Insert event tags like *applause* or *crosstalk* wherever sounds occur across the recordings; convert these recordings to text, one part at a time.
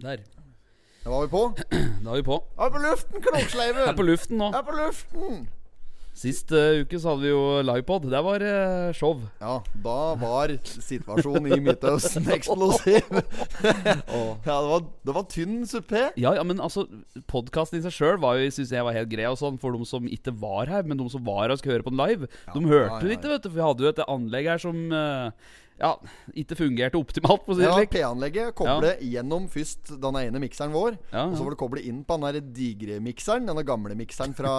Der. Da var vi på. Da er vi på. Jeg er på luften, Jeg er Kroksleiven! på luften nå. Jeg er på luften! Sist eh, uke så hadde vi jo livepod. Det var eh, show. Ja, da var situasjonen i Midtøsten *laughs* eksplosiv. Ja, det var, det var tynn suppe. Ja, ja, men altså Podkasten i seg sjøl syns jeg var helt grei, og sånn for de som ikke var her. Men de som var her og skulle høre på den live, de hørte jo ja, ja, ikke, vet du. For vi hadde jo et anlegg her som eh, ja, ikke fungerte optimalt, for å si det Ja, slik. P-anlegget koble gjennom først den ene mikseren vår. Ja, ja. Og så var det koble inn på den der digre mikseren, denne gamle mikseren fra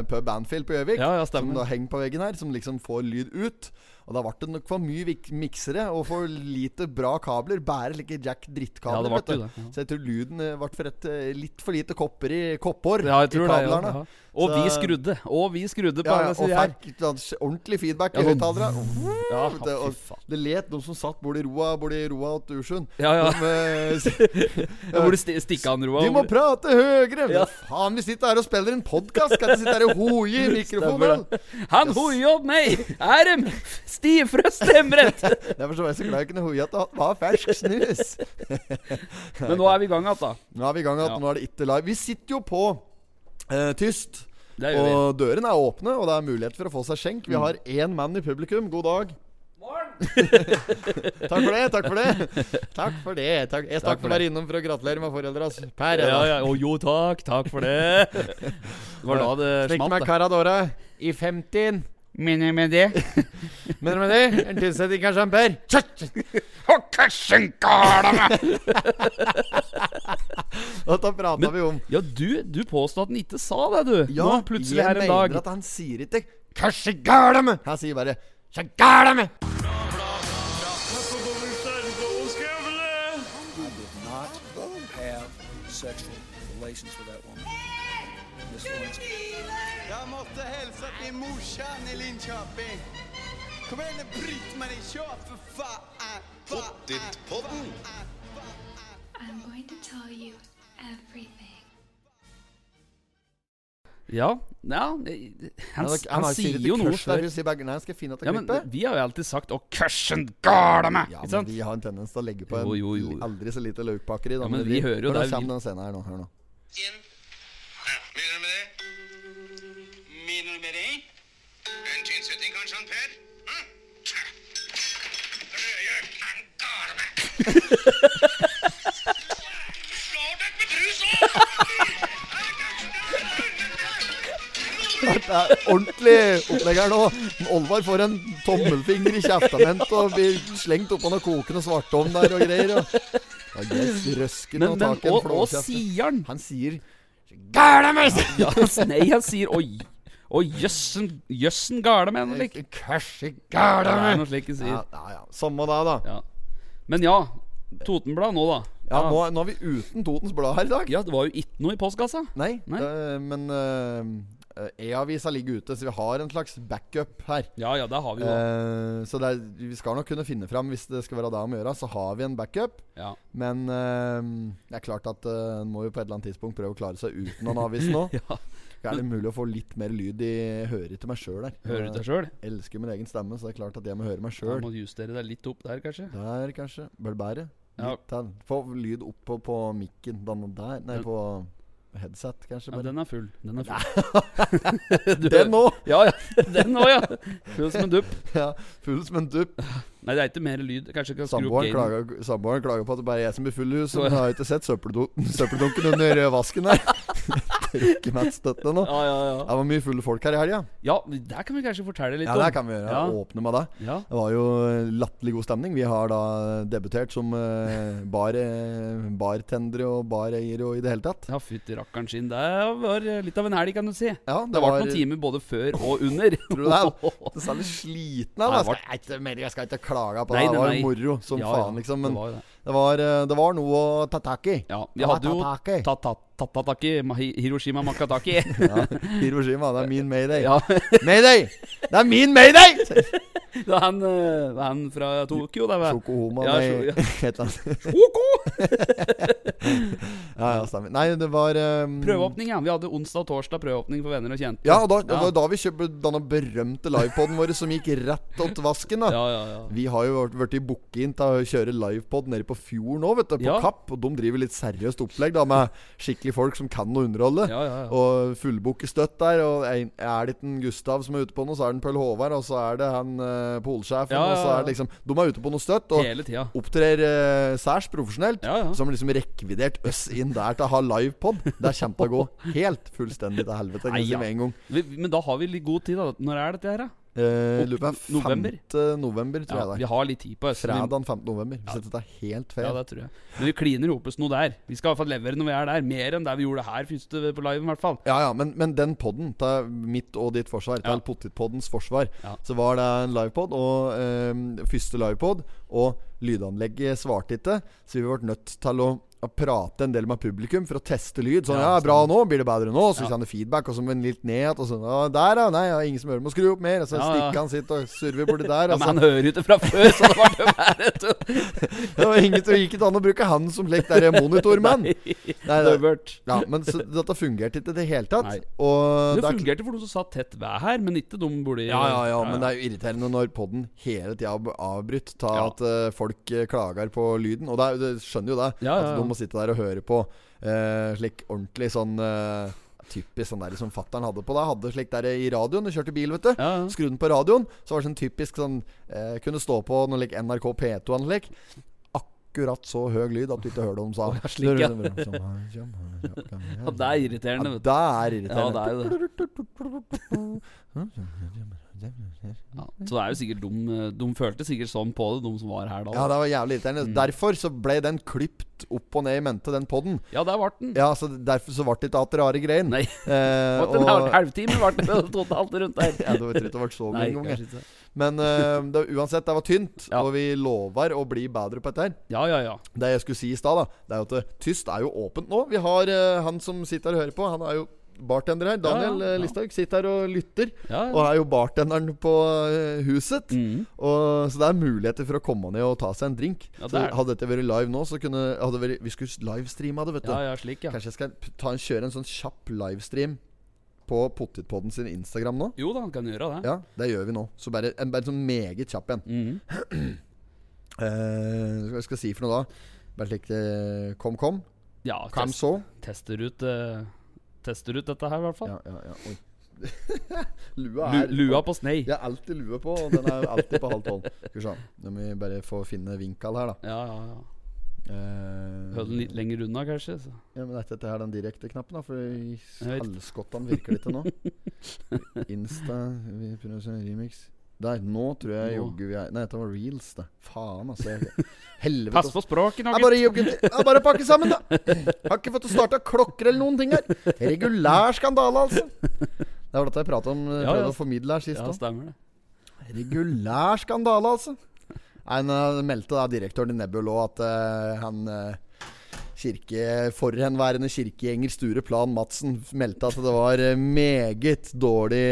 eh, pub Anfield på Gjøvik. Ja, ja, som stemmer. da henger på veggen her, som liksom får lyd ut. Og da ble det nok for mye vik- miksere og for lite bra kabler. Bare like Jack Ja, det drittkabler. ble vet du. jo det, ja. Så jeg tror lyden eh, ble for et, eh, litt for lite kopper i kopphår Ja, jeg i tror det. Ja, kablene. ja. Og Så- vi skrudde. Og vi skrudde på Ja, ja, henne og siden her. fikk da sk- ordentlig feedback Ja, i sånn- høyttalere. Ja, Vet du, fy og faen. Det let de som satt borti roa borti roa til Ursund. Ja, ja. De, eh, *laughs* s- Jeg burde sti- stikke an roa. de må prate høyere! Ja. Men Faen, vi sitter her og spiller en podkast! Skal ikke sitte her og hoie i *laughs* mikrofonen! Han hoier opp meg! Er dem stivfrø stemmerett? Derfor så var jeg så glad jeg kunne hoie at det var fersk snus. Men nå er vi i gang igjen, da. Nå er vi i gang igjen. Ja. Nå er det ikke live. Vi sitter jo på eh, tyst. Det gjør vi. Mm. Og dørene er åpne, og det er mulighet for å få seg skjenk. Vi har én mann i publikum. God dag. takk for det, takk for det. Takk for det. Takk. Jeg for stakk for å være innom for å gratulere med foreldras Per. Ja, ja. Å jo, takk. Takk for det. *laughs* Det var da det Stikk smalt. meg Caradora i 50 Minner med det. *laughs* Mener du med det? En tilsetting av Jean-Per? Dette prata vi om. *laughs* Ja, du, du påstod at den ikke sa det, du. nå plutselig her en Jeg mener dag. at han sier ikke 'Kasjegæleme'. Han sier bare 'Sjagæleme'. not have sexual relations with that woman. Miss Lewinsky. Jeg måtte hilse til morsan i Linköping. Kom igjen, Britt-Marie, kjør for faen! Pottit-podden. I'm going to tell you everything. Ja, ja Han, han sier jo noe sjøl. sjøl. Nei, skal jeg finne at Ja, det men klippet? vi har jo alltid sagt 'Å, kursen gala meg'! Ja, Ikke men sant? vi har en tendens til å legge på en Jo, jo, jo. aldri så lite løkpakker i. da, Ja, men vi hører jo Hør, det Nå er kommer vi- den scenen her nå. Hør nå. inn. Mener du med det? Mener du med det? En tynnsetting kanskje, han Per? Hm? Røye, han gale meg! Slår deg med brus òg! Det er ordentlig opplegg her nå. Olvar får en tommelfinger i kjeftament og blir slengt oppå noe kokende svartovn der og greier. Og, og yes, røsken Men, og men tak i en og, og flåkjeft. sier han? Han sier *laughs* Ja, altså, *laughs* nei, han sier 'Oi, oi, jøssen, jøssen gale meg'. noe "Eh, slik. Kæsj i Ja, det er gæla noe slik han Ja, sier. ja, ja. Samme det, da. Ja. Men ja, Totenblad nå, da. Ja, nå, nå er vi uten Totens Blad her i dag. Ja, det var jo ikke noe i postkassa. Nei, Nei. det- men eh, E-avisa ligger ute, så vi har en slags backup her. Ja, ja, det har vi jo. da. Eh, så det er, vi skal nok kunne finne fram hvis det skal være det om å gjøre. Så har vi en backup. Ja. Men eh, det er klart at eh, en må jo på et eller annet tidspunkt prøve å klare seg uten den avisen nå. *laughs* ja. Er det mulig å få litt mer lyd i Jeg hører ikke meg sjøl der. Hører du deg jeg sjøl? elsker min egen stemme, så det er klart at jeg må høre meg Du sjøl. må justere deg litt opp der, kanskje. Der, kanskje. Bør det bære? Ja. Litt her. Få lyd opp på, på mikken. Den der. Nei, Den- på headset, kanskje. Ja, Bare. den er full. Den er full. *laughs* *laughs* Du- den nå! Ja, ja. Den òg, ja. Full som en dupp. Ja, full som en dupp. Nei, det er ikke mer lyd. Kanskje jeg kan skru opp Samboeren gamen. klager, samboeren klager på at det bare er jeg som blir full i huset. Så- Men jeg har jo ikke sett søppeldun- søppeldunken under eh, vasken *laughs* *laughs* der. Trykker meg et støtte nå. Ja, ja, ja. Det var mye fulle folk her i helga. Ja, der kan vi kanskje fortelle litt Ja, om. det kan vi gjøre. Ja. Åpne med det. Ja. Det var jo eh, latterlig god stemning. Vi har da debutert som eh, bar, eh, bartendere og bareiere og i det hele tatt. Ja, fytti rakkeren sin. Det var eh, litt av en helg, kan du si. Det Ja, det, ble noen timer både før og under. Tror du det *laughs* er det er litt sliten av Nei, det? Jeg skal ikke- men Jeg skal ikke klage på Nei, det. Det nei, var jo nei. moro som Ja, ja, faen, liksom. Men det var jo det. det var, eh, det var noe å ta tak i. Ja, vi Det var hadde jo ta tak i. tatt, tatt, Tatataki, Ma- Hiroshima Makataki. *laughs* Ja, Hiroshima, det er min mayday. ja, *laughs* Mayday! Det er min mayday! det er han, eh, det er han fra Tokyo, det. vel? Sjokohoma Ja, ja, sjo- ja. med *laughs* et eller annet. Sjoko! Ja, ja, stemmer. Nei, det var um, Prøveåpning, ja. Vi hadde onsdag og torsdag prøveåpning for venner og kjente. Ja, og da, det Ja. var da vi kjøpte denne berømte livepoden vår som gikk rett åt vasken. da Ja, ja, ja. Vi har jo vært- vært i booking til å kjøre livepod nede på fjorden nå, vet du. På Ja. Kapp. Og de driver litt seriøst opplegg da med skikkelige folk som kan å underholde. Ja, ja, ja. Og fullbooke støtt der. Og en- er det ikke en Gustav som er ute på noe, så er det en Pøl Håvard, og så er det han eh, polsjefen, Ja, ja, og så er det ja. liksom De er ute på noe støtt. Og Hele tida. Opptrer eh, særs profesjonelt. Ja, ja. Som liksom rekvidert oss inn der til å ha livepod. Det kommer til å gå helt fullstendig til helvete. Kan Nei, jeg si ja. med en gang. Vi- Men da har vi litt god tid, da. Når er dette her, da? Eh, lurer på om det er November? 5. november, tror Ja, jeg vi det er. har litt tid på høsten. Vi- Fredag 15. november. Hvis dette er helt feil. Ja, det tror jeg. Men vi kliner opes noe der. Vi skal i hvert fall levere når vi er der. Mer enn det vi gjorde her første på live, i hvert fall. Ja, ja, men, men den podden, til mitt og ditt forsvar, til Ja. Pottitpoddens forsvar, Ja. så var det en livepod, og eh, første livepod, og lydanlegget svarte ikke, så vi ble nødt til å å prate en del med publikum for å teste lyd. Sånn, Ja, ja, bra nå, blir det bedre nå? Så Ja. kjenner feedback, og så men litt ned igjen. Og sånn, ja, der, ja. Nei, ja, ingen som hører må skru opp mer. Og så Ja, ja. stikker han sitt og surver borti der. Ja, men og så- han hører jo ikke fra før, så det var det verre. Det var ingen som gikk ikke an å bruke han som slik der monitormann. *laughs* Nei, det- Døvert. Ja, men så, dette fungerte ikke i det hele Nei. tatt. Og Det det er fungerte for noen som satt tett ved her, men ikke de burde Ja, ja, ja, men det er jo irriterende når podden hele tida er avbrutt Ta Ja. at eh, folk eh, klager på lyden. Og det er, du skjønner jo det. Ja, ja, ja. At de må sitte der og høre på eh, slik ordentlig sånn eh, Typisk sånn der som fatteren hadde på deg. Hadde slik der i radioen. Du kjørte bil, vet du. Ja, ja. Skru den på radioen, så var det sånn typisk sånn eh, Kunne stå på noe like NRK P2 eller slik. Akkurat så høy lyd at du ikke hører det de sa. ja, slik, ja. Ja, det er Ja, irriterende, vet du. det er Ja, irriterende. det er jo det. Ja, så det er jo sikkert de, de følte sikkert sånn på det, de som var her da. Ja, det var jævlig Mm. irriterende. Derfor så ble den klipt opp og ned i mente, den podden. Ja, der ble den. Ja, så derfor så ble det ikke at rare greien. Nei. Eh, Ble og, den en halvtime ble det totalt rundt der. ja, det var trist å vært så mye Nei, en gang. jeg. kanskje ikke. Men eh, det, uansett, det var tynt, Ja. og vi lover å bli bedre på dette her. Ja, ja, ja. Det jeg skulle si i stad, da, det er jo at det- tyst er jo åpent nå. Vi har eh, han som sitter her og hører på, han er jo bartender her. Daniel Ja, ja, eh, ja. Listhaug sitter her og lytter, ja, og ja. er jo bartenderen på eh, huset. Mhm. Og, så det er muligheter for å komme ned og ta seg en drink. Ja, det så er det. hadde dette vært live nå, så kunne hadde vært, Vi skulle livestreama det, vet du. ja, ja, slik, ja. Kanskje jeg skal p- ta en, kjøre en sånn kjapp livestream på Pottitpodden sin Instagram nå? Jo da, han kan gjøre det. Ja, det gjør vi nå. Så bare en bare sånn meget kjapp en. Mhm. Eh, hva skal jeg si for noe da? Bare slik det Kom, kom. Ja, Kom test, så. tester ut eh, Tester ut dette her, i hvert fall. Ja, ja, ja. Oi. *laughs* lua Lu, er lua på snei. Jeg har alltid lue på, og den er alltid på halv tolv. Skal vi se. Nå må vi bare få finne vinkel her, da. Ja, ja, ja. Eh, Hører den litt lenger unna, kanskje. Så. Ja, men er ikke dette her den direkte knappen, da? For i vet ikke. halvskottene virker det *laughs* ikke nå. Insta vi prøver å se remix. Der. Nå tror jeg Nå. jogger vi er Nei, dette var reels, det. Faen, *laughs* altså. Jeg, helvete. Pass altså. på språket, nå, Jeg bare, jogger, jeg bare pakker sammen, da. Har ikke fått starta klokker eller noen ting her. Regulær skandale, altså. Det var dette jeg prata om, eh, Ja, prøvde ja. å formidle her sist Ja, òg. stemmer det. Regulær skandale, altså. Nei, nå meldte da direktøren i Nebbel òg at eh, han eh, kirke, forhenværende kirkegjenger Sture Plan Madsen meldte at det var eh, meget dårlig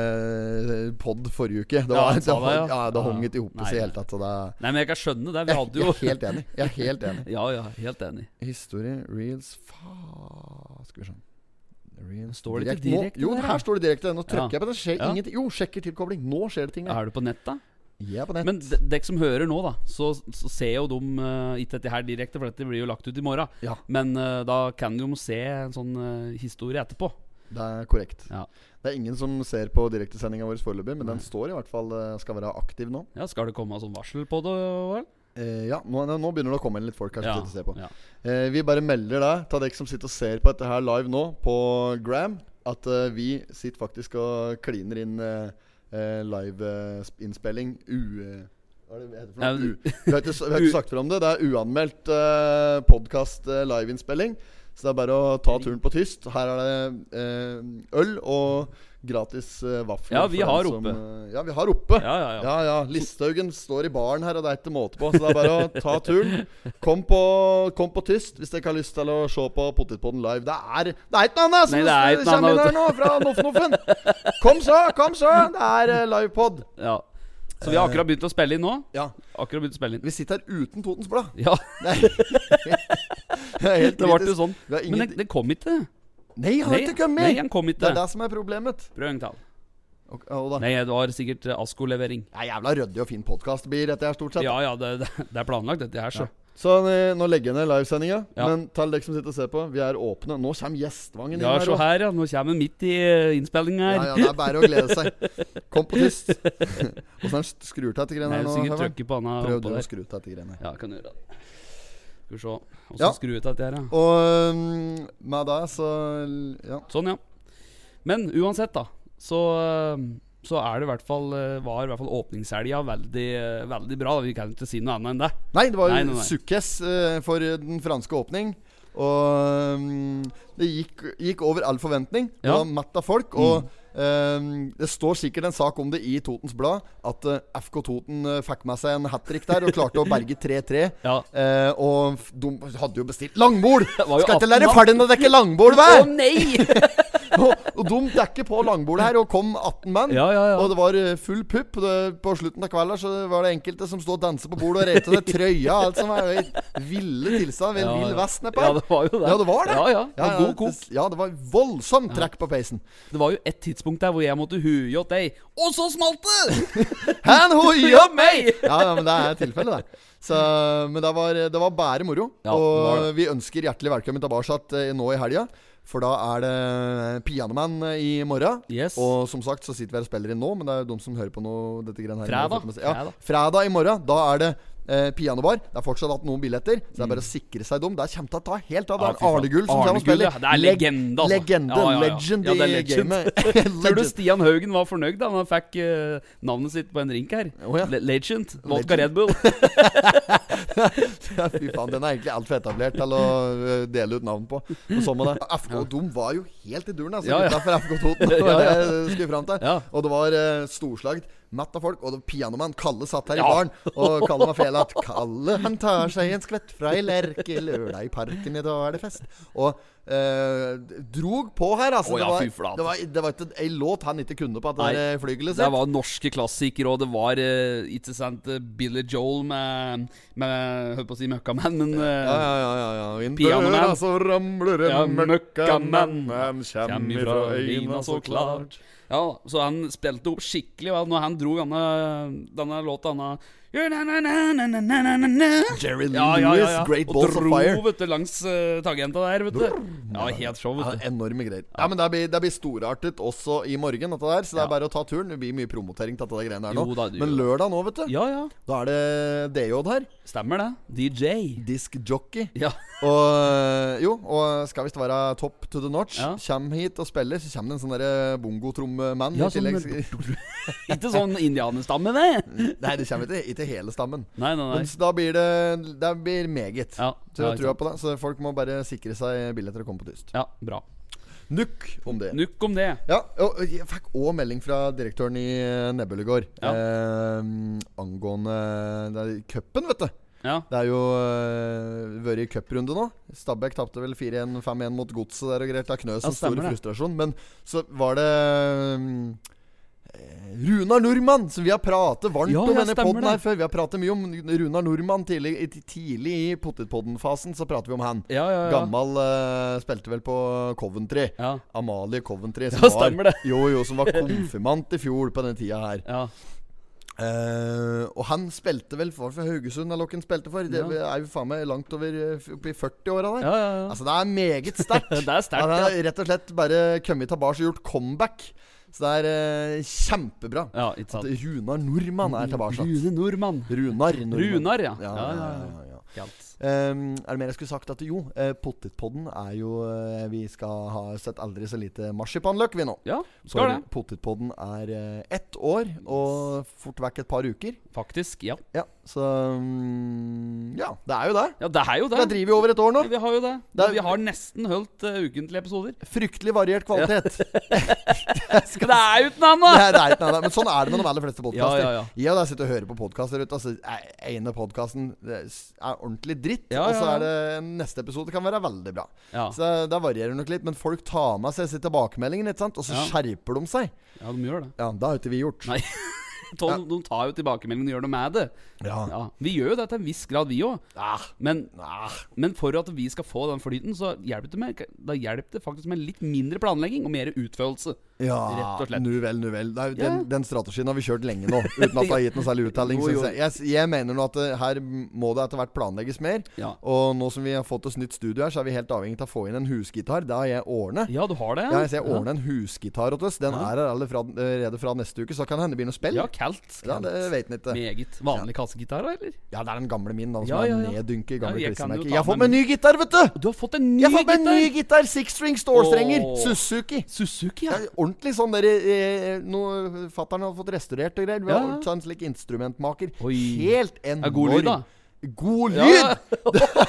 uh, pod forrige uke. Det, Ja, var, han det, sa det, hang- ja. ja. det Ja, hang ja. ikke i hop Nei, i det hele nei. tatt. så Det, Nei, men jeg kan skjønne det. Vi jeg, hadde jeg jo er helt enig. Jeg er helt enig. Ja, ja, helt enig. Historie, reels, fa... Skal vi se. Reels, Står det ikke Nå- direkte Jo, der, ja? her står det direkte. Nå trykker Ja. jeg på det. Skjer Ja. ingenting. Jo, sjekker tilkobling. Nå skjer det ting. her. Er du på nett, da? Jeg er på nett. Men de- dere som hører nå, da, så, så ser jo de eh, ikke dette her direkte, for dette blir jo lagt ut i morgen. Ja. Men eh, da kan de jo se en sånn eh, historie etterpå. Det er korrekt. Ja. Det er ingen som ser på direktesendinga vår foreløpig, men den står i hvert fall eh, skal være aktiv nå. Ja, Skal det komme sånn varsel på det? vel? Eh, ja, nå, nå begynner det å komme inn litt folk her. Ja, som sitter og ser på ja. eh, Vi bare melder deg, til dere som sitter og ser på dette her live nå, på Gram, at eh, vi sitter faktisk og kliner inn eh, eh, liveinnspilling u... eh, Hva er det det heter for Ja, noe? men- U, vi har ikke, vi har ikke sagt fra om det. Det er uanmeldt eh, podkast eh, liveinnspilling. Så det er bare å ta turen på tyst. Her er det eh, øl og gratis eh, vafler. Ja, for vi den har som, oppe. eh, ja, vi har oppe. Ja, ja, ja. ja, Listhaugen står i baren her, og det er ikke måte på. Så det er bare å ta turen. Kom på, kom på tyst hvis dere ikke har lyst til å se på Potetpodden live. Det er Det er ikke noe annet som Nei, det er ikke noe kommer inn annet, her nå, fra Noffnoffen. Kom så, kom så. Det er eh, livepod. Ja. Så vi har akkurat begynt å spille inn nå. Ja. Akkurat begynt å spille inn. Vi sitter her uten Totens Blad. *laughs* Ja, Det er- Det er helt det ble jo kritisk. sånn. Vi har Men ingen den, den kom ikke. Nei, han har Nei, ikke kommet! nei, han kom ikke. Det er det som er problemet. Prøv en gang til. Og, og da. Nei, det var sikkert eh, Asko-levering. Det er jævla ryddig og fin podkast blir dette her, stort sett. Ja ja, det, det, det er planlagt, dette her, så. Så eh, nå legger jeg ned livesendinga. Ja. Men til dere som sitter og ser på, vi er åpne. Nå kommer gjestvangen inn Ja, se også. her, ja. Nå kommer den midt i eh, innspillinga Ja, her. ja, det er bare å glede seg. Kom *laughs* på tyst. Åssen han skrur til dette greiene Nei, her nå? sikkert Herman? trykke på denne Prøv du oppå å der. skru til dette greiene her. Ja, kan gjøre det. Skal vi se. Åssen Ja. skru ut dette her, da? Og mm, med det, så Ja. Sånn, ja. Men uansett, da, så eh, så er det i hvert fall eh, var i hvert fall åpningshelga veldig, eh, veldig bra. da. Vi kan ikke si noe annet enn det. Nei, det var Nei, nei, jo nei. sukkes eh, for den franske åpning. Og mm, det gikk, gikk over all forventning. Det Ja. Mm. var mett av folk. Og eh, det står sikkert en sak om det i Totens Blad, at eh, FK Toten eh, fikk med seg en hat trick der og klarte å berge 3-3. *laughs* Ja. Eh, og f- de hadde jo bestilt *laughs* langbord! var jo Skal ikke 18 lære mann. ferdig å dekke langbord hver! *laughs* nei! og, og de dekker på langbordet her, og kom 18 menn. Ja, ja, ja. Og det var eh, full pupp. Det- På slutten av kvelden så var det enkelte som stod og danset på bordet og reiste ned trøya. Alt som var i ville tilstand. Ved en vill vest nedpå. Ja, det var jo det. Ja, det var det. Ja, ja. Det var god kok. det- Ja, det var voldsomt trekk på peisen. Det var jo et tidspunkt der hvor jeg måtte huie åt deg, og så smalt det! Han hoi Ja, opp! meg! Ja, ja, men det er tilfellet, det. Så, men det var, det var bare moro. Ja, og det var det. vi ønsker hjertelig velkommen tilbake at, eh, nå i helga. For da er det eh, Pianoman i morgen. Yes. Og som sagt så sitter vi her og spiller inn nå, men det er jo de som hører på noe dette greiene her. Fredag. har fått med seg- Ja, Fredag. fredag. i morgen. Da er det eh, pianobar. Det er fortsatt hatt noen billetter, så det er bare å sikre seg dem. Det kommer til å ta helt av. Ja, Det er fy faen. Arne Gull som Arne kommer Gull, og spiller. ja. Det er Leg- legende, altså. Legende. Ja, ja, ja. Legend Ja, det er i legend. *laughs* gamet. Tror du Legend. Stian Haugen var fornøyd da han fikk eh, navnet sitt på en drink her? Å, ja. Le- Legend. Vodka Legend. Red *laughs* Bull. Ja, fy faen, den er egentlig altfor etablert til å øh, dele ut navn på. Men sånn med det. FK Dom var jo helt i duren, altså. Ja, ja. Gutta fra FK *laughs* Toten. Det Ja, var det ja. jeg skulle fram til. Ja. Og det var uh, storslagt. Matt av folk. Og det var pianomann Kalle satt her Ja. i baren. Og Kalle var fela at Kalle han tar seg en skvett fra ei lerke lørdag i parken, i dag er det fest. Og øh, drog på her, altså. Å, ja, fy det, var, flate. det, var, det var ikke ei låt han ikke kunne på at det Nei. der flygelet Det sitt. var norske klassikere, og det var eh, ikke sant eh, Billy Joel med, med Holdt på å si Møkkamann, men eh, Ja, ja, ja, ja, ja. Inn Pianoman. døra så ramler Ja, en møkkamann. møkkamann. Han kjem Kjem ifra ifra øyna øyna så så klart. Ja, så han spilte opp skikkelig vel, når han dro denne, denne låta. Denne Jerry Ja, ja, ja, ja. Lewis, Great Og Balls of dro, Fire. vet du, langs uh, taggenta der, vet du. Ja, helt show, Ja, vet du. enorme greier. Ja, men det blir, det blir storartet også i morgen, dette der. Så det Ja. er bare å ta turen. Det blir mye promotering til dette greiene her nå. Jo da, det men gjør det. lørdag nå, vet du, Ja, ja. da er det DJ her. Stemmer det. DJ. Disk jockey. *laughs* Ja. Og eh, jo, og skal visst være top to the notch. Ja. Kjem hit og spiller, så kommer det en sånn derre bongotrommemann. Ja, i sånn, tillegg. Ikke sånn indianerstamme, det. *laughs* Nei, det kommer ikke, ikke hele stammen. Nei, nei, nei. Mm. Men så da blir det Det blir meget. Ja, så jeg ja, har trua på det. Så folk må bare sikre seg billetter og komme på tyst. Ja, bra. Nukk om det. Nukk om det. Ja, og og jeg fikk òg melding fra direktøren i eh, Nebbelet i går Ja. eh, angående det er cupen, vet du. Ja. Det er jo eh, vært cuprunde nå. Stabæk tapte vel 4-1-5-1 mot Godset der og greier. Det er knøs Ja, en stor stemmer det. frustrasjon. Men så var det mm, eh, Runar Nordmann, som vi har pratet varmt Ja, om ja, denne stemmer podden her det. før. Vi har pratet mye om Runar Nordmann tidlig, i- tidlig i Potetpodden-fasen. Så prater vi om han. Ja, ja, ja. Gammal eh, spilte vel på Coventry. Ja. Amalie Coventry, som, Ja, stemmer det. var, jo, jo, *laughs* som var konfirmant i fjor på den tida her. Ja. Eh, og han spilte vel for, for Haugesund, eller hva han spilte for. Det Ja. er jo faen meg langt over eh, f- oppi 40-åra der. Ja, ja, ja. Altså, det er meget *laughs* sterkt. Det er sterkt, Han har rett og slett bare kommet tilbake og gjort comeback. Så det er eh, kjempebra. Ja, ikke At sant. Runar Nordmann er tilbake. Rune Nordmann. Runar. Nordmann. Runar, ja. Ja, ja, ja, ja. Helt. Ehm, er det mer jeg skulle sagt? At jo, uh, Pottitpodden er jo eh, Vi skal ha sett aldri så lite marsipanløk, vi nå. Ja, Så skal det. Pottitpodden er eh, ett år og fort vekk et par uker. Faktisk, ja. Ja, så mm, Ja, det er jo det. Ja, det er jo Da det. driver vi over et år nå. Vi har jo det. Det er- Vi har nesten holdt eh, ukentlige episoder. Fryktelig variert kvalitet. Men det er uten annet! det er, det er ikke noe annet. Men sånn er det med de aller fleste podkaster. Ja, ja, ja. Jeg og deg sitter og hører på podkaster. Altså, ene podkasten er ordentlig dritt, Ja, og så ja, ja. er det neste episode kan være veldig bra. Ja. Så da varierer det nok litt. Men folk tar med seg sin tilbakemeldingen, ikke sant? og så Ja. skjerper de seg. ja, de gjør det. Ja, det har jo ikke vi gjort. Nei. *laughs* De, de tar jo tilbakemeldingene og gjør noe med det. Ja. Ja, Vi gjør jo det til en viss grad, vi òg. Ah, Men, ah. men for at vi skal få den flyten, så hjelper det, med, da hjelper det faktisk med litt mindre planlegging og mer utførelse. Ja, Rett og slett. nu vel, nu vel. Det er jo- Ja. Den, den strategien har vi kjørt lenge nå, uten at det har gitt noe særlig *laughs* uttelling. Jo, synes jo. Jeg. Jeg, s- jeg mener nå at eh, her må det etter hvert planlegges mer. Ja. Og nå som vi har fått oss nytt studio her, så er vi helt avhengig av å få inn en husgitar. Det har jeg ordnet. Ja, du har det? Ja, jeg ser jeg ordner en husgitar til oss. Den er her alle fra- allerede fra neste uke, så kan det hende det blir noe spill. Ja, Ja, kaldt. det vet en ikke. Meget. Vanlig kassegitar, eller? Ja, det er den gamle min, da, som Ja, ja, ja. er neddynket i gamle Ja, ja, jeg kan jo ta Jeg har fått med meg ny gitar, vet du! Du har fått en ny Jeg har fått meg gitar! ny gitar! Six-string stålstrenger. Åh. Suzuki. Suzuki, Ja, ja. ordentlig sånn der eh, Noe fattern har fått restaurert og greier. Vi Ja, har ja. ordentlig en slik instrumentmaker. Oi. Helt enorm. god lyd, da? God Ja, lyd! ja.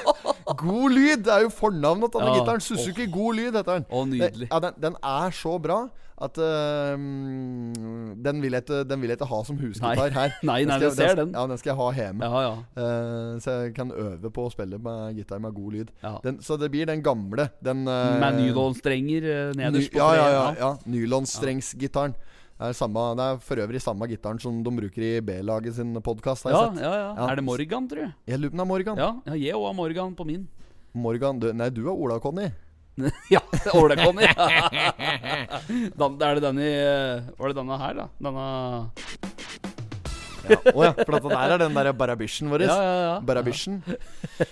god lyd! *laughs* Det er jo fornavnet til denne Ja. gitaren. Suzuki God Lyd heter den. Å, nydelig. Det- Ja, den, den er så bra at eh, mm, den, vil jeg ikke, den vil jeg ikke ha som Nei. husgitar her. *laughs* Nei, nei, skal jeg- vi ser den. Ja, den skal jeg ha hjemme. Ja, ja. Eh, så jeg kan øve på å spille med gitar med god lyd. Ja. Den, så det blir den gamle. Den eh, Med nylonstrenger eh, Ny, nederst på ja, ja, treet, ja, ja. Nylonstrengsgitaren. Det er, samme, det er for øvrig samme gitaren som de bruker i B-laget sin podkast. Ja, ja, ja. Ja. Er det Morgan, tror jeg? Jeg lurer på om det er Morgan. Ja, ja jeg òg har Morgan på min. *laughs* Morgan du, nei, du er Ola Conny. ja, Ålekonny. *laughs* er det denne i eh, Var det denne her, da? Denne Ja. *laughs* Å ja, for at der er den der barabisjen vår. Ja, ja, ja. Barabisjen.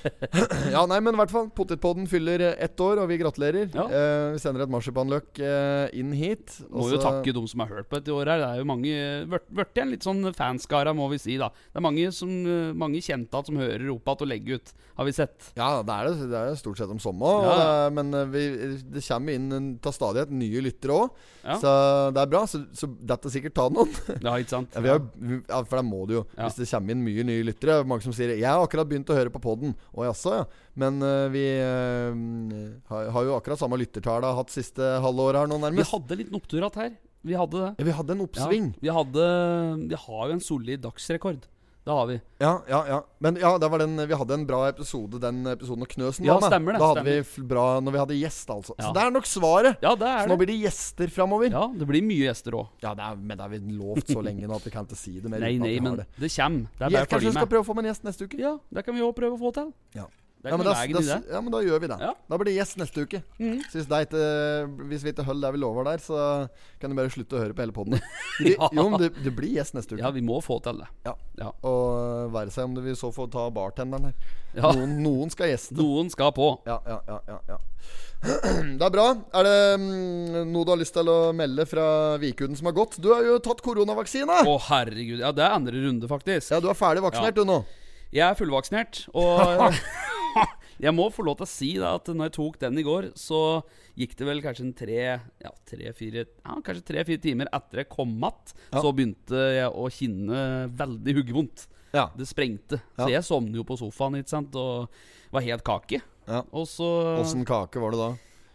*laughs* ja, nei, men i hvert fall. Potetpodden fyller eh, ett år, og vi gratulerer. Ja. Eh, vi sender et marsipanløk eh, inn hit. Må og jo så- takke de som har hørt på dette året her. Det er jo mange eh, vært- Vært igjen litt sånn fanskara, må vi si, da. Det er mange, som, eh, mange kjente at som hører opp igjen og legger ut, har vi sett. Ja, det er det. Det er jo stort sett om Ja. sommeren. Og det er, men eh, vi, det kommer inn en- til stadighet nye lyttere òg, Ja. så det er bra. Så, så dette sikkert ta noen. Ja, ikke sant? Ja, vi har, vi- ja, for det må det jo. Ja. Hvis det kommer inn mye nye lyttere. Mange som sier 'Jeg har akkurat begynt å høre på poden'. Å jaså, ja. Men eh, vi eh, har, har jo akkurat samme lyttertall har hatt siste halvåret her nå, Vi nærmest. hadde en liten opptur igjen her. Vi hadde det. Ja, vi hadde en Ja, oppsving. vi hadde Vi har jo en solid dagsrekord. Det har vi. Ja, ja, ja. Men ja, det var den, vi hadde en bra episode, den episoden og Knøsen Ja, var med. stemmer det, Da hadde vi f- bra når vi hadde gjest, altså. Ja. Så det er nok svaret. Ja, det Så er nå det. blir det gjester framover. Ja, Ja, det blir mye gjester òg. det er, men det har vi lovt så lenge nå at vi kan ikke si det mer. Nei, uten at nei, vi har men det. det kommer. Det er Ja, bare å Kanskje følge vi skal med. prøve å få med en gjest neste uke? Ja, det kan vi òg prøve å få til. Ja. Det Ja, er men ikke da, noe veien da, i det. ja, men da gjør vi det. Ja. Da blir det gjest neste uke. Mm. Så hvis, det er ikke, hvis vi ikke holder det vi lover der, så kan du bare slutte å høre på hele *laughs* poden. Jo, men det, det blir gjest neste uke. Ja, vi må få til det. Ja. Ja. Og være seg om du vil så få ta bartenderen her. Ja. Noen, noen skal gjeste. Noen skal på. Ja, ja, ja, ja, *clears throat* ja. Det er bra. Er det mm, noe du har lyst til å melde fra Vikuden som har gått? Du har jo tatt koronavaksine! Å, herregud. Ja, det er andre runde, faktisk. Ja, du er ferdig vaksinert, du nå. Jeg er fullvaksinert, *laughs* og jeg må få lov til å si da at når jeg tok den i går, så gikk det vel kanskje en tre, ja, tre, fire, ja, kanskje tre-fire timer etter jeg kom att, Ja. så begynte jeg å kjenne veldig huggevondt. Ja. Det sprengte. Ja. Så jeg sovnet jo på sofaen, ikke sant, og var helt kake. Ja. Og så Åssen kake var det da?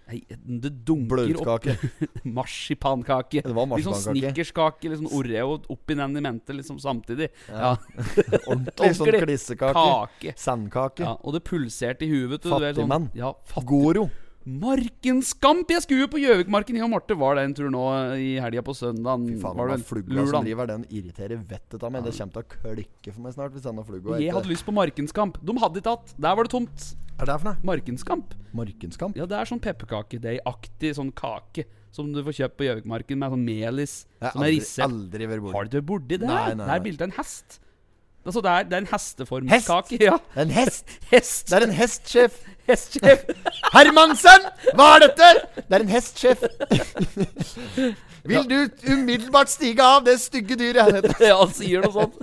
Nei, det dunker opp Bløtkake. *laughs* marsipankake. Det var Litt sånn marsipankake. snickerskake, litt sånn Oreo oppi den i mente liksom samtidig. Ja. *laughs* Ordentlig sånn *laughs* Ordentlig klissekake. Kake. Sandkake. Ja, og det pulserte i huet. vet du, det er Fattigmann. Sånn, ja, fattig. Goro. Markenskamp! Jeg skulle jo på Gjøvikmarken. Jeg og Marte var der en tur nå eh, i helga på søndag. Fy faen, den flugga som driver den, irriterer vettet av meg. Det kommer til å klikke for meg snart hvis denne flugga Jeg hadde lyst på Markenskamp. De hadde ikke hatt. Der var det tomt. Er det her for noe? Markenskamp. Markenskamp? Ja, det er sånn pepperkakedeig-aktig sånn kake som du får kjøpt på Gjøvikmarken med sånn melis Jeg har som er aldri, risset. aldri vært Har borti du ikke vært borti det? Nei, her? nei, Det nei. er bilde av en hest. Altså, det er, det er en Hest? hesteformskake. *laughs* Ja. Det er en hest! Hest! Det er en hest, sjef! Hestsjef! Hermansen! Hva er dette?! Det er en hest, sjef! Vil du umiddelbart stige av det stygge dyret? *laughs* Ja, han sier noe sånt.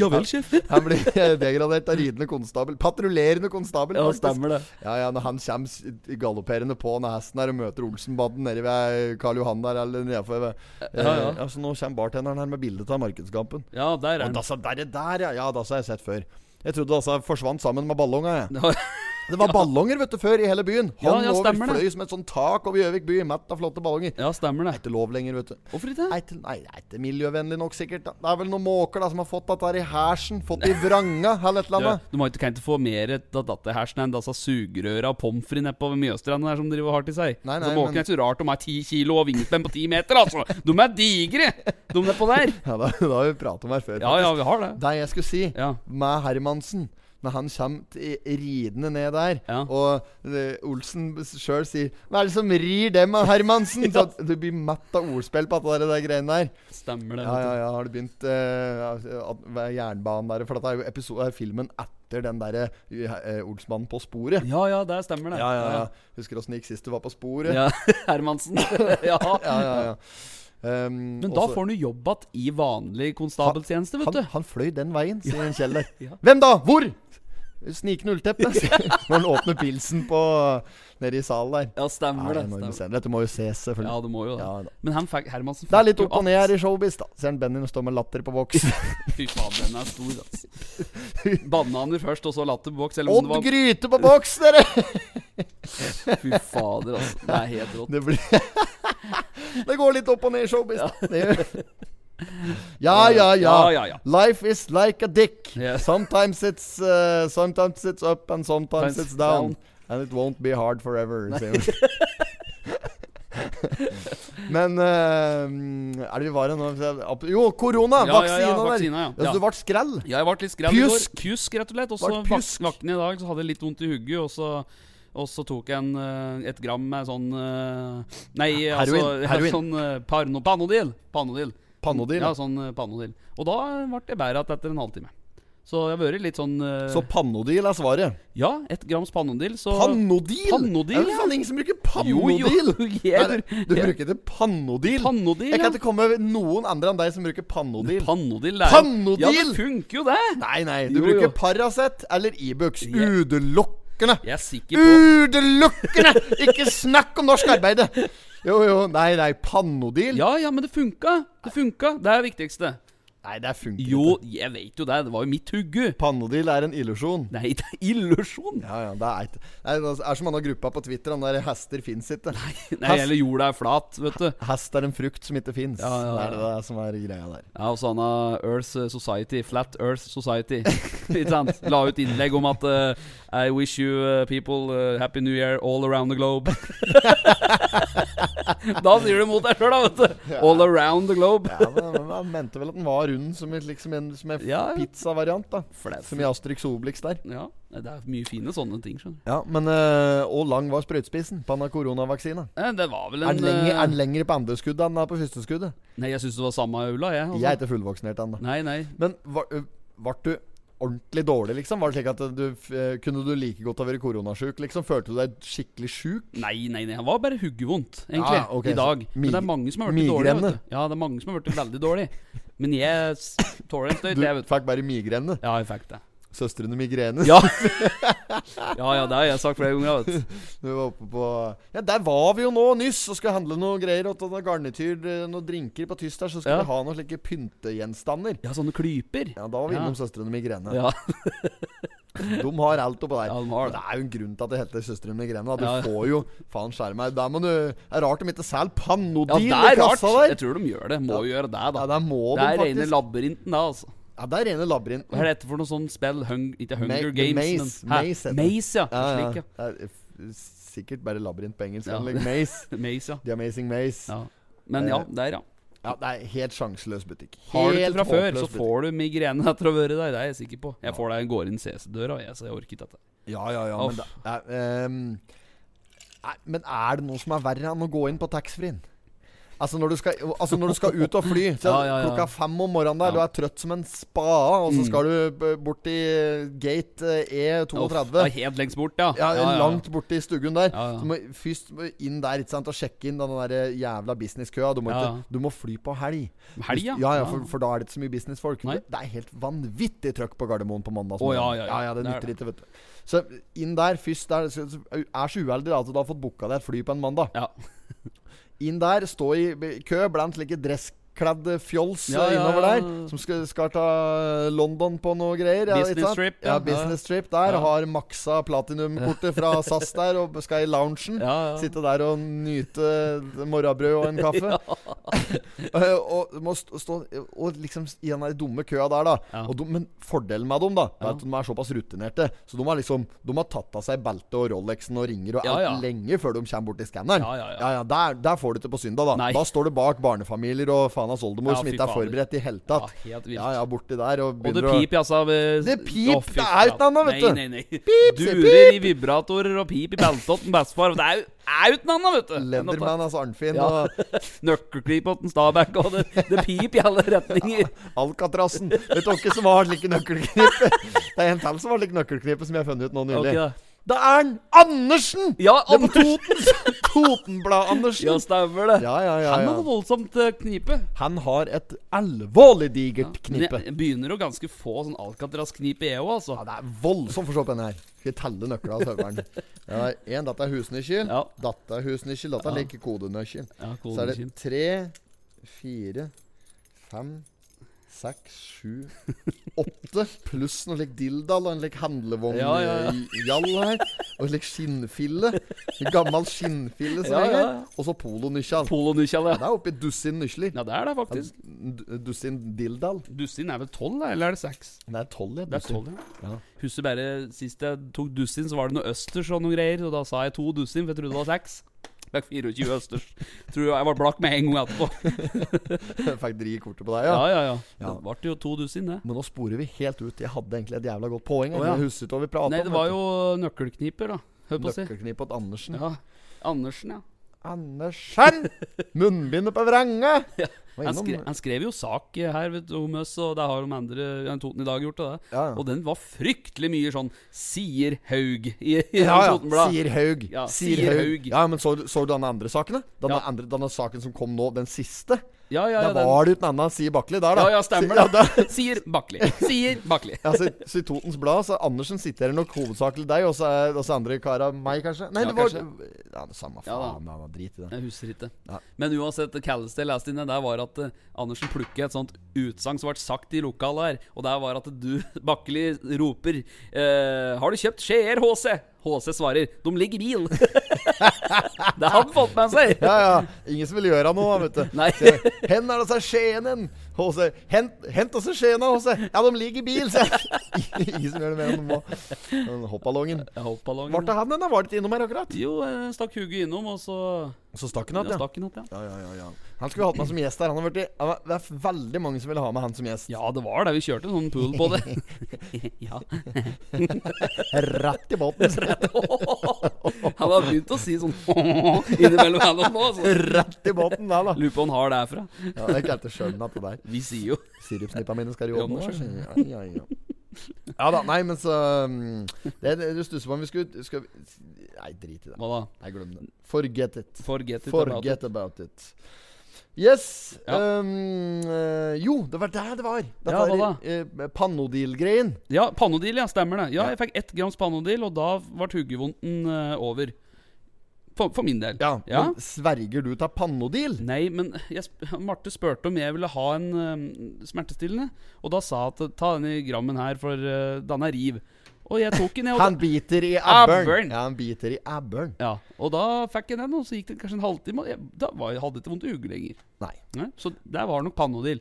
Ja vel, sjef. Han blir degradert av ridende konstabel. Patruljerende konstabel. Ja, faktisk. stemmer det. Ja, ja, når han kommer s- galopperende på når hesten her og møter Olsenbanden nede ved Karl Johan der eller nedenfor ved Ja, ja. Eh, ja, så nå kommer bartenderen her med bildet av markedskampen. Ja, der er Og han. dassa der, der, ja. Ja, dassa har jeg sett før. Jeg trodde dassa forsvant sammen med ballonga, jeg. *laughs* Ja, Det var ballonger, vet du, før i hele byen. Ja, Han ja, over stemmer det. fløy som et sånt tak over Gjøvik by, mett av flotte ballonger. Ja, stemmer Det er det. ikke lov lenger, vet du. Hvorfor ikke? Nei, til- nei, nei, det er miljøvennlig nok, sikkert. da. Det er vel noen måker da som har fått dette her i hersen. Fått det i vranga, eller et eller Du, annet. du må ikke, kan ikke få mer av datterhersen enn disse sugerøra og altså, pommes frites nede på Mjøstranda der som driver hardt i seg. Nei, nei, så måken men- er ikke så rart de er ti kilo og vingespenn på ti meter, altså. De er digre, de nedpå der. Ja, da, da har vi pratet om her før. Ja, ja, vi har det. Det jeg skulle si, Ja. med Hermansen når han kommer t- ridende ned der, Ja. og eh, Olsen sjøl sier 'Hva er det som rir dem av *laughs* Hermansen?' Så at du blir mett av ordspill på alle de greiene der. Stemmer det. Ja, vet du. ja, ja, har du begynt eh, at- hva er jernbanen der For dette er jo episode, er filmen etter den derre eh, Olsmannen på sporet. Ja, ja, det stemmer det. Ja, ja, ja. Husker åssen det gikk sist du var på sporet? Ja, *laughs* Hermansen. ja. ja, ja, ja. Ehm, Men da også- får han jo jobb igjen i vanlig konstabeltjeneste, vet han, du. han fløy den veien, sier en Kjell der. *laughs* Ja. Hvem da? Hvor? Snikende ullteppe. *laughs* Når han åpner pilsen på nede i salen der. Ja, stemmer Ja, det. det er enorme Stemmer. scener. Dette må jo ses, Ja, selvfølgelig. det må jo det. Ja, da. Men han fikk Hermansen det er litt fikk jo opp og ned her i showbiz, da. Ser han Benny stå med latter på *laughs* boks. alt. Fy faen, den er stor, altså. Bananer først, og så latterboks. Eller om Odd det var Gryte på boks, dere! Fy fader, altså. Det er helt rått. Det, blir *laughs* det går litt opp og ned i showbiz, da. Det gjør- Ja, ja, Ja, ja. ja, ja. Life is like a dick. Ja. Sometimes it's uh, Sometimes it's up, and sometimes Times it's down. down. And it won't be hard forever. sier hun. *laughs* Men eh, mm, er det vi var hen nå? Jo, korona! Ja, ja, vaksina ja, der. vaksina, ja. Altså, Ja. Du ble skrell? Ja, jeg ble litt skrevet i går. Pjusk. Pjusk, rett og slett. Og så Vart vak pjusk. vakne i dag, så hadde jeg litt vondt i hugget, og så og så tok jeg en, eh, et gram med sånn eh, Nei, Heroin, altså heroin. sånn eh, parno, panodil. Panodil. Pannodil. Ja, sånn eh, panodil. Og da ble jeg bedre igjen etter en halvtime. Så jeg har vært litt sånn eh, Så pannodil er svaret. Ja, ett grams panodil, så Pannodil? Pannodil, Er det faen ingen som bruker Jo, pannodil? jo, jeg- Nei, du bruker det pannodil? Pannodil, Jeg ja. kan ikke komme med noen andre enn deg som bruker pannodil. Pannodil, det er jo- Pannodil? Ja, det funker jo, det! nei, nei. Du Jo, bruker jo. Paracet eller Ibux. Jeg- Utelukkende. Jeg er sikker på Utelukkende! Ikke snakk om norsk arbeid! Jo, jo. Nei, nei. Pannodil? Ja, ja, men det funka! Det funka! Det er det viktigste. Nei, det funker Jo, ikke. jeg vet jo det. Det var jo mitt hugge. Pannodil er en illusjon. Nei, det er illusjon! Ja, ja, det er ikke Nei, Det er som han har gruppa på Twitter, han der 'hester fins ikke'. Nei, hele jorda er flat, vet du. Hest er en frukt som ikke fins. Ja, ja, Det ja. er det der som er greia der. Ja, og så han har Earth Society, Flat Earth *laughs* Society. Ikke sant? La ut innlegg om at eh, I wish you eh, people eh, happy new year all around the globe. *laughs* da sier du mot deg sjøl, da, vet du. All around the globe. Ja, men men Han mente vel at den var rund som, et, liksom en, som en Ja, ja. pizzavariant, da. Flat. Som i Asterix og Obelix der. *laughs* Ja, det er mye fine sånne ting, skjønner du. Ja, men øh, Hvor lang var sprøytespissen på den der koronavaksina? Eh, Det var vel Er en den lenger, eh, er den lenger på andre skuddet enn den er på første skuddet? Nei, jeg syns det var samme aula, jeg. altså. Jeg er ikke fullvaksinert ennå. Nei, nei. Men eh, ble du ordentlig dårlig, liksom? Var det slik at du f- eh, Kunne du like godt ha vært koronasjuk, liksom? Følte du deg skikkelig sjuk? Nei, nei, nei. Han var bare huggevondt, egentlig, Ja, Ah, ok, i dag. så Men det mig- er mange som har blitt dårlige. vet migrene. du. Ja, det er mange som har blitt veldig dårlige. Men jeg s- tåler en støyt, Du jeg, vet du. fikk bare migrene. Ja, jeg fikk det. Søstrene Migrene. Ja. *laughs* ja, ja, det har jeg sagt flere ganger. Vet. du. Vi var oppe på Ja, der var vi jo nå nyss og skulle handle noe greier. Og ta noe garnityr, eh, noe drinker på tyst her, så skulle Ja. vi ha noen slike pyntegjenstander. Ja, sånne klyper. Ja, da var vi Ja. innom Søstrene Migrene. Ja, De har alt oppå der. Ja, de har det. det er jo en grunn til at det heter Søstrene Migrene. Da. Du Ja. får jo Faen, skjerm meg. Der må du Det er rart de ikke selger ja Panodil det i er rart. kassa Jeg der. tror de gjør det. Må gjøre det, da. Ja, der må det de er rene faktisk. labyrinten, da, altså. Ja, det er rene labyrinten. Hva er dette for noe sånn spill? Hung, ikke Hunger Ma- Games, Maze. men Hæ? Maze heter det. Maze, ja. Ja, ja. Slik, ja. Det er f- Sikkert bare labyrint på engelsk. Ja. eller Maze. Maze, ja. The Amazing Maze. Ja. ja. Men Eh, ja, der, ja. det er helt sjanseløs butikk. Har du det Helt fra før, håpløs så butikk. får du migrene *laughs* etter å ha vært der. Det er jeg sikker på. Jeg får det, jeg går inn CC-døra, jeg, så jeg orker ikke dette. Ja, ja, ja. Uff. Men, da, eh, ehm, nei, men er det noe som er verre enn å gå inn på taxfree-en? Altså når, du skal, altså når du skal ut og fly *laughs* så Ja, ja, ja. Mm. klokka fem om morgenen der, du er trøtt som en spade, og så skal du b- bort i gate eh, E32. Ja, helt lengst bort, ja. Ja, Langt borte i stuggen der. Ja, ja. Du må først inn der ikke sant, og sjekke inn den der jævla businesskøa. Du, må Ja, ja. ikke- du må fly på helg. Helg, ja. ja, ja Ja. for, for da er det ikke så mye businessfolk. Nei. Det er helt vanvittig trøkk på Gardermoen på mandag. Å, ja, ja, ja. ja, Det Det er nytter ikke, vet du. Så inn der først. Der, så, så, er så uheldig da, at du har fått booka deg et fly på en mandag. Ja. *laughs* Inn der, stå i b- kø blant slike dresskledde fjols Ja, eh, ja, innover der, ja. som skal, skal ta eh, London på noe greier. Business ikke sant? trip, Ja, ja. business trip der. Ja. Har maksa platinumkortet *laughs* fra SAS der og skal i loungen. Ja, ja. Sitte der og nyte morrabrød og en *laughs* kaffe. Eh, og, må stå, stå, og liksom i den der dumme køa der, da. Ja. Og de, men fordelen med dem, da, er Ja. at de er såpass rutinerte. Så de har liksom De har tatt av seg beltet og Rolexen og ringer og Ja, alt ja. lenge før de kommer bort til skanneren. Ja, ja, ja. der, der får du det på søndag, da. Nei. Da står du bak barnefamilier og faenas oldemor Ja, som fy ikke er fader. forberedt i hele Ja, tatt. helt vilt. Ja, ja, borti der og Og det begynner pip, altså. ved- Det pip, Å, fy det er jo ikke faen. noe annet, vet du. Nei, nei, nei. Pip, sier Durer i vibratorer og pip i beltotten, bestefar. Det er jo er jo ikke noe annet, vet du. å Leatherman, altså Arnfinn, Ja. *laughs* og Nøkkelklipp åt en Stabæk, og det, det pip i alle retninger. Alcatrassen. Vet du hvem som har slike nøkkelknipp? *laughs* Det er en til som har slike nøkkelknipp, som jeg har funnet ut nå nylig. Ok, da. Det er en Andersen! Ja, Det er på Anders. *laughs* Toten. Totenblad-Andersen. Ja, stemmer det. Ja, ja, ja, Han ja. hadde voldsomt eh, knipe. Han har et alvorlig digert Men knippe. Jeg begynner å ganske få sånn Alcatraz-knip i EU, altså. Ja, det er voldsomt for å se på denne her. Skal vi telle nøklene av serveren? *laughs* Ja, en, dette er husnøkkel. Ja. Dette er husnøkkel. Dette er like kodenøkkel. Ja, Så er det tre, fire, fem, seks, *laughs* sju, åtte pluss noe lik dilldall og en lik Ja, ja, ja. handlevognjall her. Og en lik skinnfille. En gammel skinnfille som Ja, ja, henger. ja. Og så polonøkkel. Polonykjale. Det er oppi dusin nøkler. Ja, det er det faktisk. D- Dussin dilldall. Dussin er vel tolv, eller er det seks? Det er tolv, ja. Det er dussin. tolv, *laughs* ja. Ja. Husker bare sist jeg tok dussin, så var det noe østers og noen greier. Og da sa jeg to dussin, for jeg trodde det var seks. Fikk 24 østers. Tror jeg var blakk med en gang etterpå. Jeg Fikk dri i kortet på deg, Ja, *laughs* ja. ja, ja. Det ble jo to dussin, det. Men nå sporer vi helt ut. Jeg hadde egentlig et jævla godt poeng. Å, Oh, ja. Jeg husker ikke hva vi pratet Nei, om. det var jo nøkkelkniper, da. Hør på å si. Nøkkelknippet Andersen. Ja. Andersen, ja. *laughs* Andersen! Munnbindet på vrange! Var Han, innom- skre, han skrev jo sak her vet du, om oss, og det har de andre enn Toten i dag gjort. Og, det. Ja, ja. og den var fryktelig mye sånn 'Sier Haug' i, i Ja, ja. Totenbladet. Sier Haug. Ja, sier sier Haug. Haug. Ja, men så, så du den andre saken, da? Den, Ja. andre, denne saken som kom nå, den siste? Ja, ja, ja, der den- var det jo en annen Sier Bakli der, da. Ja, ja, stemmer Si- det. *laughs* Ja, der- *laughs* Sier Bakli. Sier Bakli. Ja, så, så i Totens Blad så Andersen siterer nok hovedsakelig deg, og så er også andre kara meg, kanskje? Nei, Ja, det var kanskje. Ja, det samme Ja, da. faen, ja, *laughs* drit i det. Jeg husker ikke. Ja. Men uansett, det kaldeste jeg leste inne, der var at eh, Andersen plukket et sånt utsagn som ble sagt i lokalet her, og der var at du, *laughs* Bakkeli, roper eh, 'Har du kjøpt Skjeer HC?' HC svarer 'De ligger i bil'. *laughs* det har han fått med seg. Ja, ja. Ingen som vil gjøre noe, vet du. altså Nei. Så jeg, Hen er det seg Skienen? HC. Hent, hent altså også Skiena, HC. Ja, de ligger i bil, sier jeg. *laughs* Ingen som gjør det mer enn de må. Den Hoppballongen. Jeg holdt ballongen. Var det han den? da? Var det ikke innom her akkurat? Jo, jeg stakk hugget innom, og så Så stakk ja, han att, ja. stakk han opp, ja. Ja, ja, ja, ja. Han skulle hatt meg som gjest her. Han har vært i, han var- det er veldig mange som ville ha med han som gjest. Ja, det var det. Vi kjørte en sånn pool på det. ja. *laughs* Rett *laughs* i båten. Han har begynt å si sånn *laughs* innimellom han og nå. altså. Rett i båten der, da. Lurer på om han har det herfra. Ja, det er ikke helt til skjønnen at det der. Vi sier jo Sirupsnippa mine skal i Ja, ovnen. nå her, sier jeg. Ja, ja, ja. ja da, nei, men så um, det, det, Du stusser på om vi skulle skal vi, Nei, drit i det. Hva da? Nei, glem det. Forget it. Forget it about it. Forget about it. Yes. Ja. Um, eh, jo, det var der det var. Dette Ja, hva er, eh, Pannodil-greien. Ja, pannodil, ja. Stemmer det. Ja, jeg fikk ett grams pannodil, og da ble huggevondten eh, over. For, for min del. Ja, Men sverger du til pannodil? Nei, men jeg, sp- Marte spurte om jeg ville ha en eh, smertestillende, og da sa jeg at ta denne grammen her, for uh, den er riv. Og jeg tok den, jeg. og da- Han biter i abberen. Abberen. Ja, han biter i abberen. Ja, og da fikk jeg den, og så gikk det kanskje en halvtime, og jeg, da var, jeg hadde jeg ikke vondt i hugget lenger. Nei. Nei, så der var nok pannodil.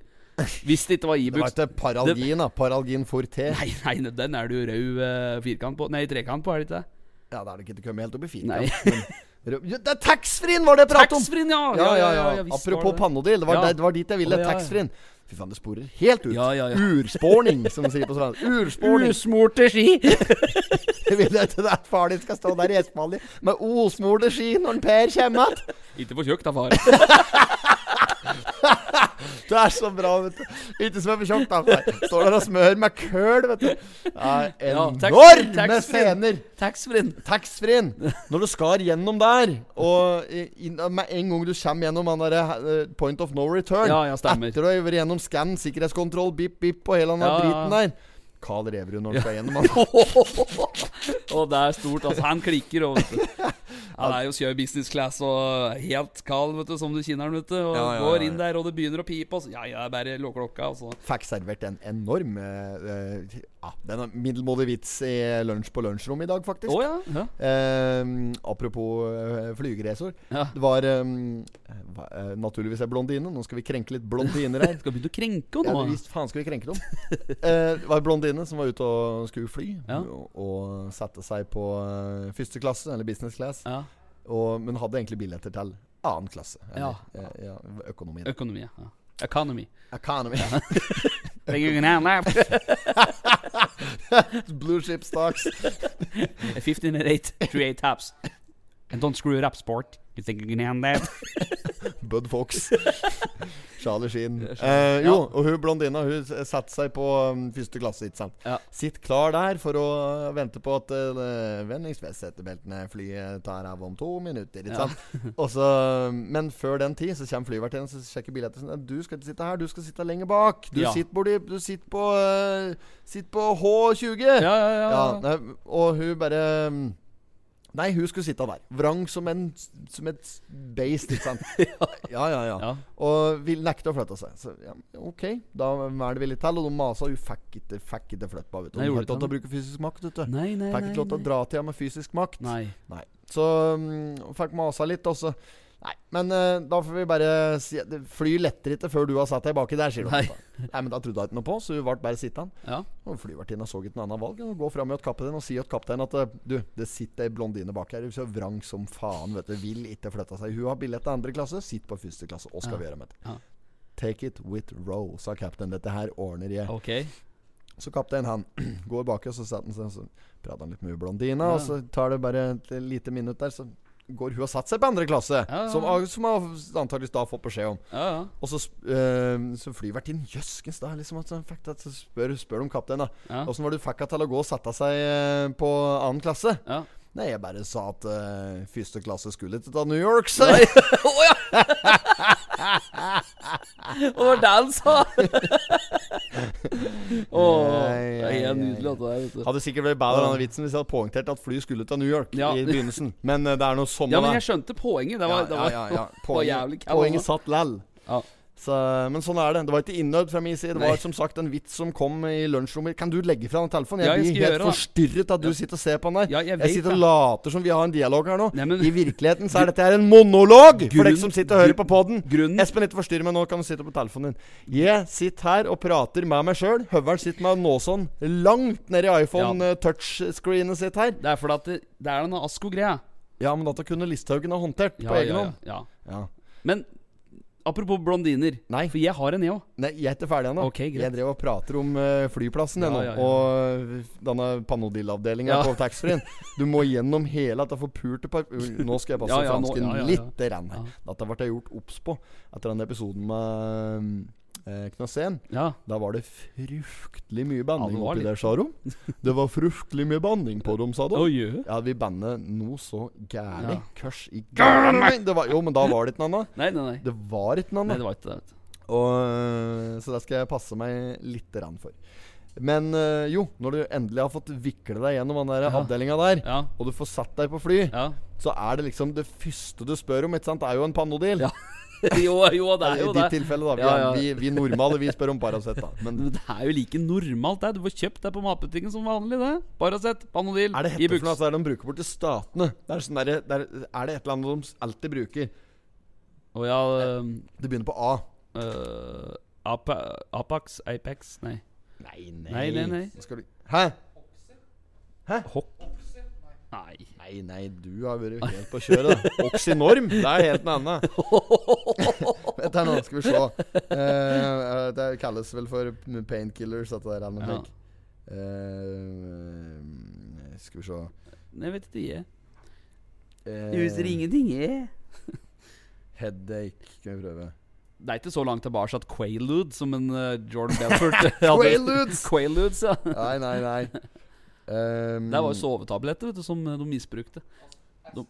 Hvis det ikke var Det var Ibux. ikke paralgin, da. Paralgin forte. Nei, nei, nei, den er det jo rød eh, firkant på. Nei, trekant på, er det ikke det? Ja, da er det ikke til å komme helt opp i Nei. firkant. Men- Ja, Det er taxfree-en var det jeg pratet om! Taxfree-en, ja! Ja, ja, ja. visst var Apropos det. pannodil, det var, Ja. det, det var dit jeg ville. Å, ja, ja. Taxfree-en. Fy faen, det sporer helt ut. Ja, ja, ja. Urspårning, som de sier på svensk. Urspårning. Usmorte ski! *laughs* Jeg vil ikke at far din skal stå der i Espali med osmorte ski når en Per kommer igjen. *laughs* ikke for tjukk, da, far. Det er så bra, vet du. Ikke smør for tjukt, da. Nei, Står der og smører med køl, vet du. Ja, Ja, enorme tax- taxfree. scener. Taxfree-en. *laughs* Taxfree-en. Når du skar gjennom der, og i- inn- med en gang du kommer gjennom han derre point of no return Ja, ja, stemmer. Etter å ha vært gjennom skann, sikkerhetskontroll, bip, bip og hele den Ja, ja, driten ja. der. Carl Reverud når han skal *laughs* gjennom han. Og det er stort, altså. Han klikker og vet du. Han er jo kjører business class og helt kald, vet du, som du kjenner han, vet du. Og Ja, ja, ja, går inn ja. der, og det begynner å pipe, og så Ja, ja, bare lå klokka, altså. og så Fikk servert en enorm eh, eh, ja, Den er middelmådig vits i lunsj på lunsjrommet i dag, faktisk. Å ja. ja. Eh, apropos uh, flygeresor. Ja. Det var eh, hva- eh, naturligvis en blondine. Nå skal vi krenke litt blondiner her. Skal begynne å krenke Ja, henne nå. visst faen skal vi krenke dem. *laughs* Eh, det var en blondine som var ute og skulle fly, Ja. og, og satte seg på eh, første klasse, eller business class, Ja. og, men hadde egentlig billetter til annen klasse. Eller, Ja. eh, ja, økonomi. Økonomi. Ja. Economy. *laughs* Economy. Fifteen Blue ship stocks. and eight, three eight taps. And don't screw it up, sport. You think you can hand that? Bud Fox. Charlie Sheen. Eh, jo, og hun blondina hun s- satte seg på um, første klasse, ikke sant. *laughs* Ja. Sitt klar der for å uh, vente på at uh, vendingsvestsetebeltene flyet tar av om to minutter, ikke Ja. sant. Og så, men før den tid så kommer flyvertinnen og sjekker billetter. Sånn, du skal ikke sitte her, du skal sitte lenger bak. Du Ja. sitter borti Du sitter på uh, Sitter på H20. Ja, ja, ja. Ja, nei, og hun bare mm, Nei, hun skulle sitte der. Vrang som, en, som et beist, *laughs* ikke sant. ja, ja, ja, Ja. Og vil nekte å flytte seg. Så ja, OK, da er det villig til. Og de masa. Hun fikk ikke, fikk ikke flytte på. Vet du. Nei, Hun gjorde ikke fikk ikke lov til å bruke fysisk makt. Vet du. Nei, nei, Fikk ikke lov til å nei. dra til henne med fysisk makt. Nei. Nei. Så mm, hun fikk masa litt, og så Nei, men eh, da får vi bare si Fly letter ikke før du har satt deg baki der, sier hun. Nei. nei, men da trodde hun ikke noe på, så hun ble bare sittende. Ja. Og Flyvertinna så ikke noe annet valg enn å gå fram mot kapteinen og si til kapteinen at eh, du, det sitter ei blondine bak her, så vrang som faen, vet du, vil ikke flytte seg. Hun har billett til andre klasse, sitt på første klasse. Hva skal vi gjøre med det? Ja. Take it with row, sa kapteinen. Dette her ordner jeg. Ok. Så kapteinen, han *clears throat* går bak og så setter han seg, så prater han litt med hun Ja. blondina, og så tar det bare et lite minutt der, så går hun og setter seg på andre klasse, Ja, ja, som, ja. som hun antakeligvis da har fått beskjed om. Ja, ja. Og så, sp- eh, så flyvertinnen Jøskens, da liksom at han fikk det, så spør, spør de kapteinen, da. Ja. Åssen var det du fikk henne til å gå og sette seg eh, på annen klasse? *laughs* Ja. Nei, jeg bare sa at eh, første klasse skulle til New York, sa jeg. Og det var det han *laughs* sa! Åh, Nei, det er nei, helt nei. nydelig at det er, vet du. Hadde sikkert vært bedre denne vitsen hvis jeg hadde poengtert at flyet skulle til New York Ja. i begynnelsen. Men eh, det er noe sånn Ja, men jeg skjønte poenget. Det var, *laughs* det var, det var jævlig kald, Poenget altså. satt lell. Ja. Så, men sånn er det. Det var ikke innøvd fra min side. Det Nei. var som sagt en vits som kom i lunsjrommet. Kan du legge fra den telefonen? Jeg, Ja, jeg skal blir helt gjøre det. forstyrret av at du sitter og ser på den der. Ja, jeg vet sitter og det. later som vi har en dialog her nå. Nei, men- I virkeligheten *laughs* så er dette her en monolog for Grunnen- deg som sitter og hører på poden. grunnen- Espen, ikke forstyrr meg nå. Kan du sitte på telefonen din? Jeg sitter her og prater med meg sjøl. Høveren sitter med nåsånn langt ned i iPhone Ja. eh, touchscreenet sitt her. Det er fordi at det, det er denne Asko-greia. Ja, men dette kunne Listhaugen ha håndtert Ja, på egen ja, hånd. ja, Ja. ja. Men apropos blondiner. Nei. For jeg har en, jeg òg. Nei, jeg er ikke ferdig ennå. Ok, greit. jeg drev og prater om eh, flyplassen Ja, ennå. ja, ja. Og denne Ja. Panodil-avdelinga på taxfree-en. Du må gjennom hele dette forpulte *laughs* par... Nå skal jeg passe Ja, ja, nå- fransken ja, ja, ja. lite grann. her. Ja. Dette ble jeg gjort obs på etter den episoden med uh, Knasén. Ja. Da var det fruktelig mye Ja, banning det var oppi litt. der, sa *laughs* de. Det var fruktelig mye banning på dem, sa de. Oi, jø. Ja, vi bandet noe så gæli. Ja. Kørs i gæli! Det var- Jo, men da var det ikke noe annet. Nei, nei, nei. Det var ikke noe annet. Nei, det var ikke det. vet du. Og, øh, så det skal jeg passe meg litt rann for. Men øh, jo, når du endelig har fått vikle deg gjennom den der Ja. avdelinga der, Ja. og du får satt deg på fly, Ja. så er det liksom det første du spør om, ikke sant, er jo en Panodil. *laughs* Ja, *laughs* Jo, jo, det er I jo ditt det. tilfelle, da. Vi, Ja, er- ja. Vi, vi normale, vi spør om Paracet, da. Men Men det er jo like normalt, det. Du får kjøpt det på matbutikken som vanlig, det. Paracet, Panodil, er det hette Ibux. for noe altså, er det de bruker bort til statene? Det er, sånn der, der, er det et eller annet de alltid bruker? Å ja ehm, øhm, Det begynner på A. øh, Apa- Apax? Apex? Nei. Nei, Nei, nei, nei. Nå Skal du... Hæ? Hopp? Nei. Nei, nei, du har vært helt på kjøret. da. Oxynorm, det er helt noe *laughs* annet. Vent her nå, skal vi se. Eh, eh, det kalles vel for p- painkillers, dette der. eller noe Ja. slik. Eh, skal vi se Nei, vet ikke jeg. Eh, Jeg husker ingenting, jeg. Headache, skal vi prøve. Det er ikke så langt tilbake at Quaalude, som en eh, Jordan *laughs* Belfort hadde- Quaaludes! Quaaludes, ja. Nei, nei, *laughs* nei. Um, Det var jo sovetabletter vet du, som eh, de misbrukte. De,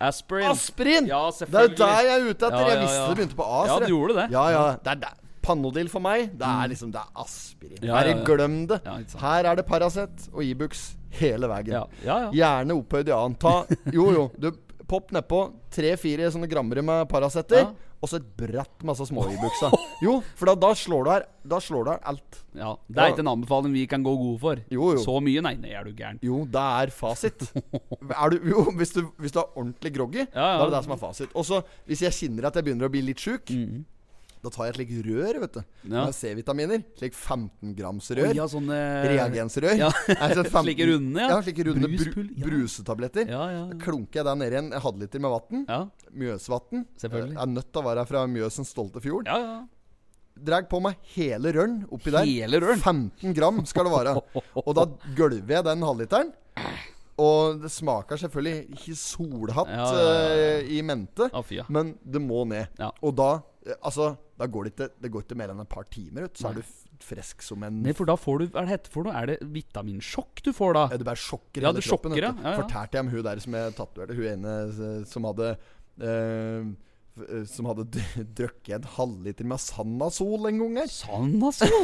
aspirin. Aspirin! Ja, det er selvfølgelig. der jeg er ute etter. Ja, ja, Jeg visste ja. det begynte på A. Ja, ser jeg. du gjorde det. Ja, ja. Det er der. Panodil for meg, det er liksom Det er aspirin. Ja, Bare ja, ja. glem det. Ja, ikke sant. Her er det Paracet og Ibux hele veien. Ja, ja, ja. Gjerne opphøyd i annet. *laughs* Ta Jo, jo. Du, popp nedpå tre-fire sånne grammere med Paracetter. Ja. Og så et bratt masse *laughs* små Ibux-a. Jo, for da, da slår du her Da slår du her alt. ja. Det er ikke en anbefaling vi kan gå god for. Jo, jo. Så mye? Nei, nei, er du gæren. Jo, det er *laughs* fasit. Er du, jo, hvis du, hvis du er ordentlig groggy, Ja, ja. da er det det som er fasit. Og så, hvis jeg kjenner at jeg begynner å bli litt sjuk, da tar jeg et slikt rør, vet du. Mhm. Ja. Med C-vitaminer. Slik 15 grams Oi, rør. ja, sånne Reagensrør. *laughs* Ja. Er det sånn 15 Slike runde, ja. ja. slike runde bru, Bruspull, ja. brusetabletter. Ja, ja, ja. Da klunker jeg der nede i en halvliter med vann. Ja, Mjøsvatn. Selvfølgelig. Jeg er nødt til å være her fra Mjøsens stolte fjord. ja. ja. Dreg på meg hele røren oppi der. Hele røren? 15 gram skal det *laughs* være. Og da gølver jeg den halvliteren. Og det smaker selvfølgelig ikke solhatt Ja, ja, ja, eh, i mente, Ja, fy, ja. men det må ned. Ja. Og da eh, Altså, da går det ikke Det går ikke mer enn et par timer, ut, så er du f- frisk som en Nei, for da får du Hva er det hette for noe? Er det vitaminsjokk du får da? Ja, du bare sjokker Ja, du hele kroppen. sjokker, ja. vet du. Ja, ja. Fortalte jeg om hun der som jeg tatoverte, hun ene eh, som hadde eh, f- eh, Som hadde d- *laughs* drukket en halvliter med Sanasol en gang her. *laughs* Sanasol!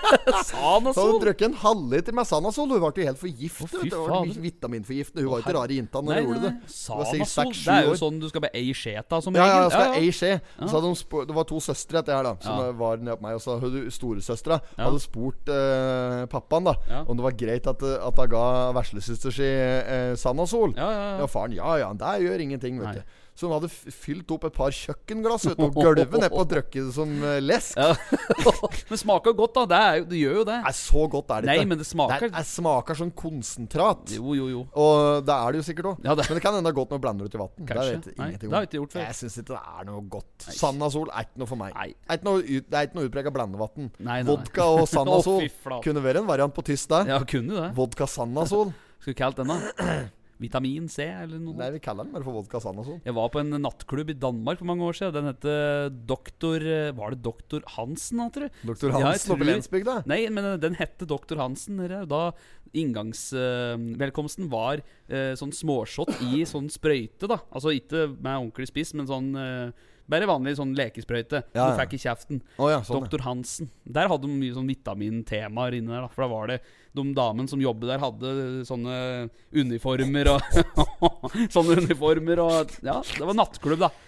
Så hadde hun Sanasol! drukket en halvliter med Sanasol. Hun ble jo helt forgiftet. Å, fy vet du. Hun var faen. Vitaminforgiftet. Hun var ikke rar i jenta når hun gjorde det. Hun var sikkert Sanasol. seks, Det er sju jo år. sånn du skal bli ei skjeta som Ja, ja, regel. jeg skal ei skje. Så hadde hun spurt, det var to søstre etter her, da. Som Ja. var nede på meg. Og så hadde hun- storesøstera Ja. hadde spurt eh, pappaen da Ja. om det var greit at, eh, at hun ga veslesøster si eh, Sanasol. Ja, ja, ja. ja, faren ja ja, det gjør ingenting, Nei. vet du. Så hun hadde f- fylt opp et par kjøkkenglass *laughs* vet du, og gulvet nedpå og drukket det som eh, lesk. *laughs* Men smaker godt, da. Det, er, jo- det gjør jo det. Nei, så godt er det Nei, ikke. men det smaker- Det er- det smaker sånn konsentrat. Jo, jo, jo. Og det er det jo sikkert òg. Ja, det- Men det kan hende det er godt når du blander det ut i vann. Det Kanskje. vet jeg Nei, ingenting det har om. jeg ikke gjort før. Jeg syns ikke det er noe godt. Sandasol er ikke noe for meg. Nei. Er ikke noe, ut- det er ikke noe utprega blandevann. Nei, nei, nei. Vodka og *laughs* Å, Sandasol fy flate. kunne vært en variant på tysk, det. Ja, kunne det. Vodka Sandasol. Skulle kalt den da *clears throat* Vitamin C eller noe. Nei, vi kaller den bare for vodka Sandasol. Jeg var på en nattklubb i Danmark for mange år siden. Den het Doktor eh, Var det Doktor Hansen, da, tror jeg? Doktor Ja, jeg Hansen oppe i tror- Lensbygda. Nei, men eh, den hette Doktor Hansen. dere. Da inngangsvelkomsten var eh, sånn småshot i sånn sprøyte, da. Altså ikke med ordentlig spiss, men sånn eh, bare vanlig sånn lekesprøyte. Ja, Du ja. fikk i kjeften. Å ja, sånn. ja. Doktor Hansen. Der hadde de mye sånn vitamintemaer inne der. Da, for da var det de damene som jobber der, hadde sånne uniformer og *laughs* Sånne uniformer og Ja, det var nattklubb, da. Ja,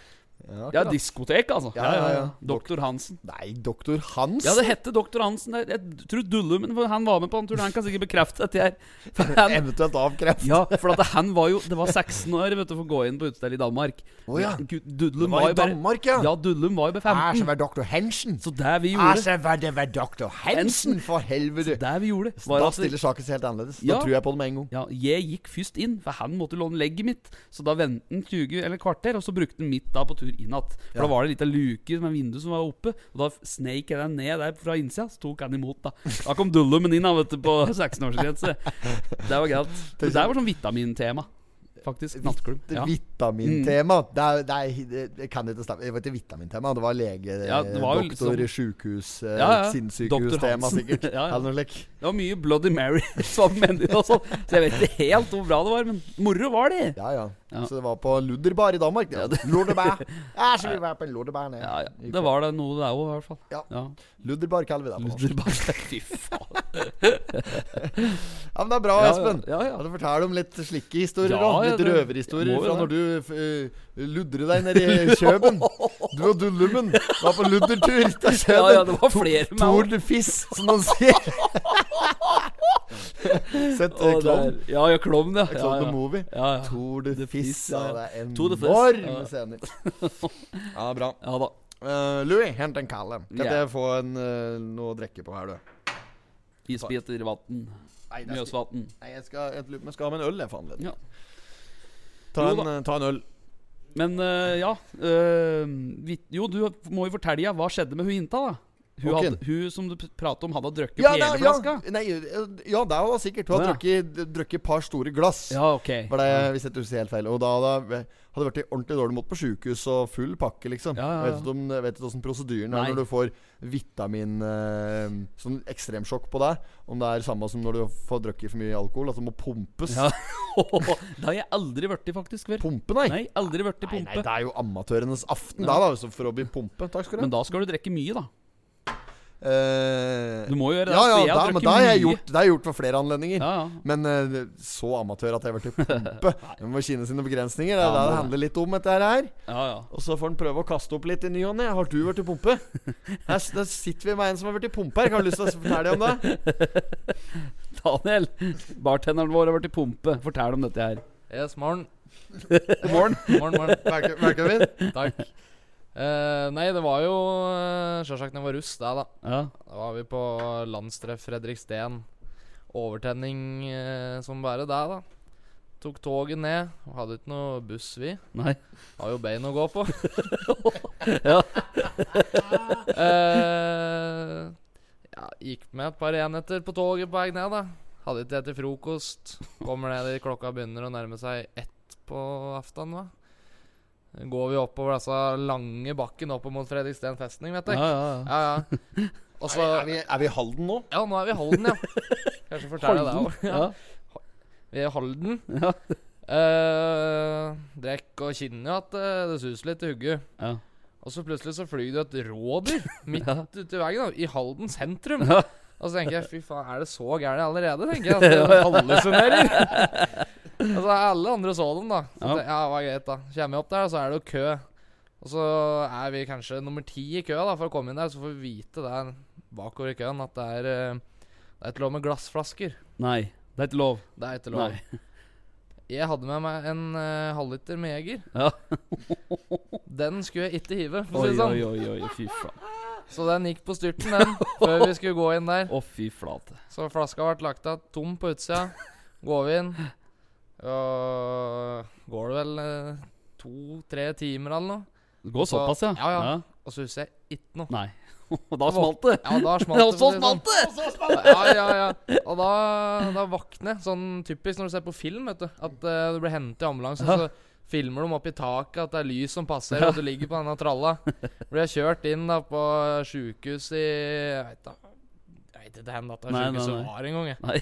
Ja, akkurat. diskotek, altså. Ja, ja, ja. Doktor Hansen. Nei, doktor Hansen? Ja, det hette Doktor Hansen. Jeg, jeg tror Dulle, men han var med på den turen. Han kan sikkert bekrefte dette *laughs* her. For han, Eventuelt avkreft. ja, for at han var jo Det var 16 år vet du, for å gå inn på utested i Danmark. Å ja. Gud, Dullum Det var i jo bare- Danmark, ja. Ja, Dullum var jo bare Her så 15. var doktor Hensen. Så det vi Her gjorde, så var det var doktor Hensen, for helvete. det vi gjorde var Da at stiller saken seg helt annerledes. Ja. Da tror jeg på det med en gang. Ja, jeg gikk først inn, for han måtte låne legget mitt. Så da ventet han 20 eller kvarter, og så brukte han mitt da på tur inn att. For da var det en liten luke med vindu som var oppe, og da sneik jeg den ned der fra innsida, så tok han imot, da. Da kom dullumen inn, da, vet du, på 16-årsgrense. Det var greit. Men det var sånn vitamintema, faktisk. Nattklubb. Det Ja. Vitamintema. Det, er, det, er, det, det kan ikke stemme. Det var ikke vitamintema, det var lege, Ja, det var jo doktor, liksom- sjukehus, Ja, eh, ja. Doktor sinnssykehus-tema Hansen. sikkert. *laughs* Ja, ja. Eller noe slik. Det var mye Bloody Mary *laughs* som menu og sånn, så jeg vet ikke helt hvor bra det var, men moro var det. Ja, ja, Ja. Så det var på Ludderbar i Danmark. Ja. Lordebar. *laughs* Ja, så vi var på en Lordebar nede. Ja, ja. Det var det noe, det òg, i hvert fall. Ja. ja. Ludderbar kaller vi det på norsk. Fy faen. Ja, men det er bra, Ja, ja. Espen. Ja, ja. Kan du fortelle om litt slike historier Ja, òg? ja, litt det- må røverhistorier jo fra det. når du uh, ludrer deg nede i Kjøben. Du og Dullummen var på luddertur til Kjøben. *laughs* Ja, ja, det var flere med Tor han. de Fiss, som han sier. *laughs* Sett Å, eh, klovn. der. Ja, ja, klovn, ja. ja, Klovn the ja. Movie. Ja, ja. Tor de The Fiss. Fizz, Ja, ja, det ja. er Tor de Fizz, enorme ja. scener. *laughs* Ja, bra. Ja da. Eh, Louis, hent en Kalle. Kan ikke Ja. jeg få en, eh, noe å drikke på her, du? Isbiter, vann. Nei, det skal, Mjøsvatn. nei jeg, skal, jeg, lurer på om jeg skal ha med en øl, jeg, for anledning. Ja. Ta, Jo en, eh, ta en øl. Men eh, ja eh, vi, Jo, du må jo fortelle ja, hva skjedde med hun jenta, da. Hun, Håken. hadde, hun som du prater om, hadde drukket Ja, hele det, ja, flaska? nei, ja, det var sikkert. Hun Å, har ja. drukket drukket et par store glass. Ja, ok. Var det, hvis jeg ikke husker helt feil. Og da hadde hadde vært i ordentlig dårlig mot på sjukehus og full pakke, liksom. Ja, ja, ja. Jeg Vet ikke om- jeg vet ikke åssen prosedyren er Nei. når du får vitamin eh, Sånn ekstremsjokk på deg. Om det er samme som når du får drukket for mye alkohol, at det må pumpes. Ja. *laughs* det har jeg aldri vært i faktisk før. Pumpe, nei. Nei, aldri vært i Nei, nei, pumpe. det er jo amatørenes aften da, da, hvis- for å bli pumpe. Takk skal du ha. Men da skal du drikke mye, da. Eh, Du må gjøre det, Ja, ja, for jeg har da, men drukket det har jeg mye. gjort, det har jeg gjort ved flere anledninger. Ja, ja. Men eh, så amatør at jeg har vært i pumpe. *laughs* Man må kjenne sine begrensninger. Det er Ja, det må det det. handler litt om, dette her. Ja, ja. Og så får han prøve å kaste opp litt i ny og ne. Har du vært i *laughs* pumpe? Her, s- der sitter vi med en som har vært i pumpe her. Har du lyst til å fortelle om det? Daniel, bartenderen vår har vært i pumpe. Fortell om dette her. Yes, morgen. God morgen. Morgen, morgen. *laughs* Velke- Velkommen. Takk. Eh, nei, det var jo uh, sjølsagt da jeg var russ, det, da. Ja. Da var vi på landstreff Fredriksten. Overtenning eh, som bare det, da. Tok toget ned. Hadde ikke noe buss, vi. Nei. Har jo bein å gå på. *laughs* Ja. Eh, ja, gikk med et par enheter på toget på vei ned, da. Hadde ikke det til frokost. Kommer ned i klokka begynner å nærme seg ett på aften, da. Går vi oppover disse lange bakken opp mot Fredriksten festning, vet Ja, du. ja, ja. Ja, ja. Og så Er vi, er vi i Halden nå? Ja, nå er vi i Halden, ja. Kanskje fortelle deg òg. Ja. Vi er i Halden. Ja. Eh, Drekk og kjenner jo at eh, det suser litt i hugget. Ja. Og så plutselig så flyr det et rådyr *laughs* midt ute i veien, da, i Halden sentrum. *laughs* Ja. Og så tenker jeg fy faen, er det så gærent allerede? *laughs* tenker jeg Altså, at jeg hallusinerer. *laughs* altså, alle andre så dem, da. Så Ja. ja. ja, det var greit, da. Kommer jeg opp der, så er det jo kø. Og så er vi kanskje nummer ti i køa da, for å komme inn der. Så får vi vite der bakover i køen at det er eh, Det er ikke lov med glassflasker. Nei, det er ikke lov. Det er ikke lov. Nei. Jeg hadde med meg en eh, halvliter med Jeger. Ja. Den skulle jeg ikke hive, for å Oi, si det sånn. oi, oi, oi, fy faen. Så den gikk på styrten, den, før vi skulle gå inn der. Å, fy flate. Så flaska ble lagt av tom på utsida. Går vi inn, og går det vel to-tre timer eller noe. Det går Så- såpass, ja? ja, ja. Og så husker jeg ikke noe. Nei. *laughs* Og da smalt det. Ja, *laughs* da smalt det. Og så for å si det sånn. smalt det! Ja, ja, ja. Og da, da våkner jeg. Sånn typisk når du ser på film, vet du. At eh, du blir hentet i ambulanse, og så filmer de opp i taket at det er lys som passer, og du ligger på denne tralla. Blir jeg kjørt inn da på sjukehus i Jeg vet da Jeg vet ikke hvor dette Nei, nei, sjukehuset nei. var engang, jeg. Nei.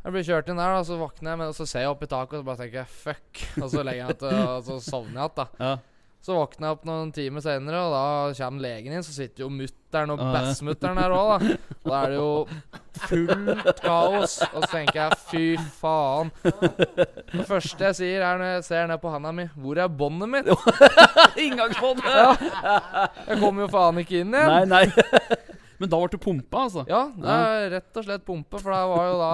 Jeg blir kjørt inn der, da, så våkner jeg, men så ser jeg opp i taket, og så bare tenker jeg fuck. Og så legger jeg meg til, og så sovner jeg igjen, da. Ja. Så våkner jeg opp noen timer senere, og da kommer legen inn. Så sitter jo mutter'n og Ah, Ja, ja. bassmutter'n her òg, da. Og da er det jo fullt kaos. Og så tenker jeg fy faen. Det første jeg sier, er når jeg ser ned på handa mi, hvor er båndet mitt? Inngangsbånd! Jeg kommer jo faen ikke inn Nei, igjen. nei. *laughs* Men da ble du pumpa, altså? Ja, det er rett og slett pumpe, for det var jo da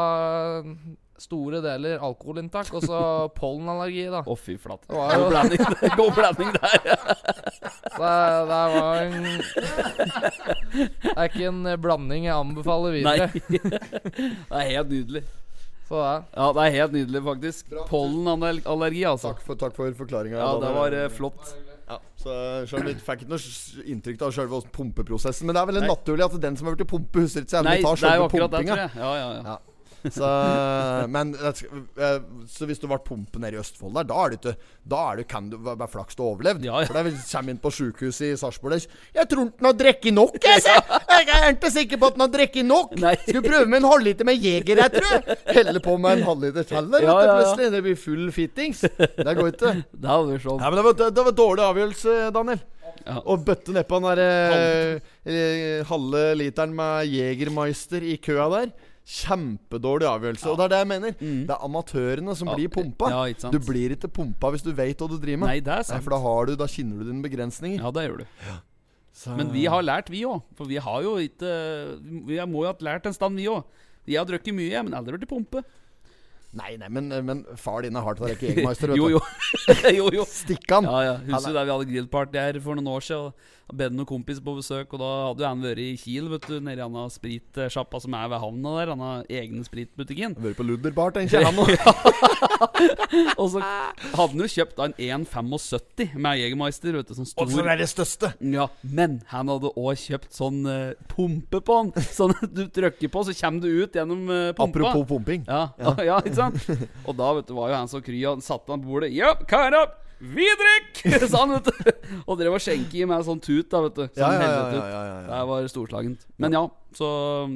store deler alkoholinntak, og så pollenallergi, da. Å, fy flate. Det var jo God blanding, God blanding der. Det, det var en Det er ikke en blanding jeg anbefaler Nei. videre. *laughs* Det er helt nydelig. Så det. Ja, det er helt nydelig, faktisk. Pollenallergi, altså. Takk for, takk for forklaringa. Ja, det var eh, flott. ja. Så selv om vi fikk ikke noe s- inntrykk av selve pumpeprosessen. Men det er vel naturlig at den som har vært i pumpe, husker ikke så Nei, det jævlig mye er jo av akkurat det, pumpinga. tror jeg. Ja, ja, ja. Ja. Så, men det sk- eh, så hvis du ble pumpe nede i Østfold der, da er det ikke Da er det, kan du være flaks du har overlevd. Ja, ja. For da vi kommer inn på sjukehuset i Sarpsborg der, 'Jeg tror den har drukket nok, jeg, *laughs* se! Jeg er ikke sikker på at den har drukket nok! Nei. Skal prøve med en halvliter med Jeger, jeg tror! Heller på med en halvliter til der, Ja, ja, vet du, ja. plutselig. Det blir full fittings. Det går ikke. Det hadde vært sånn. Nei, men det var, det, det var dårlig avgjørelse, Daniel. Ja. Å bøtte nedpå den der, eh, eh, halve literen med Jegermeister i køa der. Kjempedårlig avgjørelse. Og det er det jeg mener. Det er amatørene som Mm. Ja, blir pumpa. ja, ikke sant. Du blir ikke pumpa hvis du veit hva du driver med. Nei, det er sant. for da, har du, da kjenner du dine begrensninger. *laughs* Ja, det gjør du. Så- Men vi har lært, vi òg. For vi har jo ikke Vi må jo ha lært en stand, vi òg. Jeg har drukket mye, jeg, men aldri vært i pumpe. Nei, nei, men, eh, men far din er *laughs* hardt å rekke Jegermeister, vet Jo, du. *laughs* jo. jo, jo. Stikk han. Ja, ja. Han Husker du da vi hadde grillparty her for noen år siden? og Da bedde noen kompis på besøk, og da hadde jo han vært i Kiel, vet du, nede i denne spritsjappa som er ved havna der, denne egne spritbutikken. Vært på Ludderbar, tenker jeg. Han nå. Og *laughs* så hadde han jo kjøpt da en 1,75 med Jegermeister, vet du, sånn Og så stor er det største. ja, men han hadde òg kjøpt sånn eh, pumpe på han. *laughs* Sånn at du trykker på, så kommer du ut gjennom eh, pumpa. Apropos pumping. Ja, *laughs* ja. ikke sant? Og da vet du, var jo han så kry, og han satte han på bordet. Ja, kar opp! Vi drikker! *laughs* Sa han, vet du. Og drev og skjenket i meg en sånn tut, da, vet du. Sånn Ja, ja, ja, helvete ut. ja, ja, ja. Det var storslagent. Men ja, så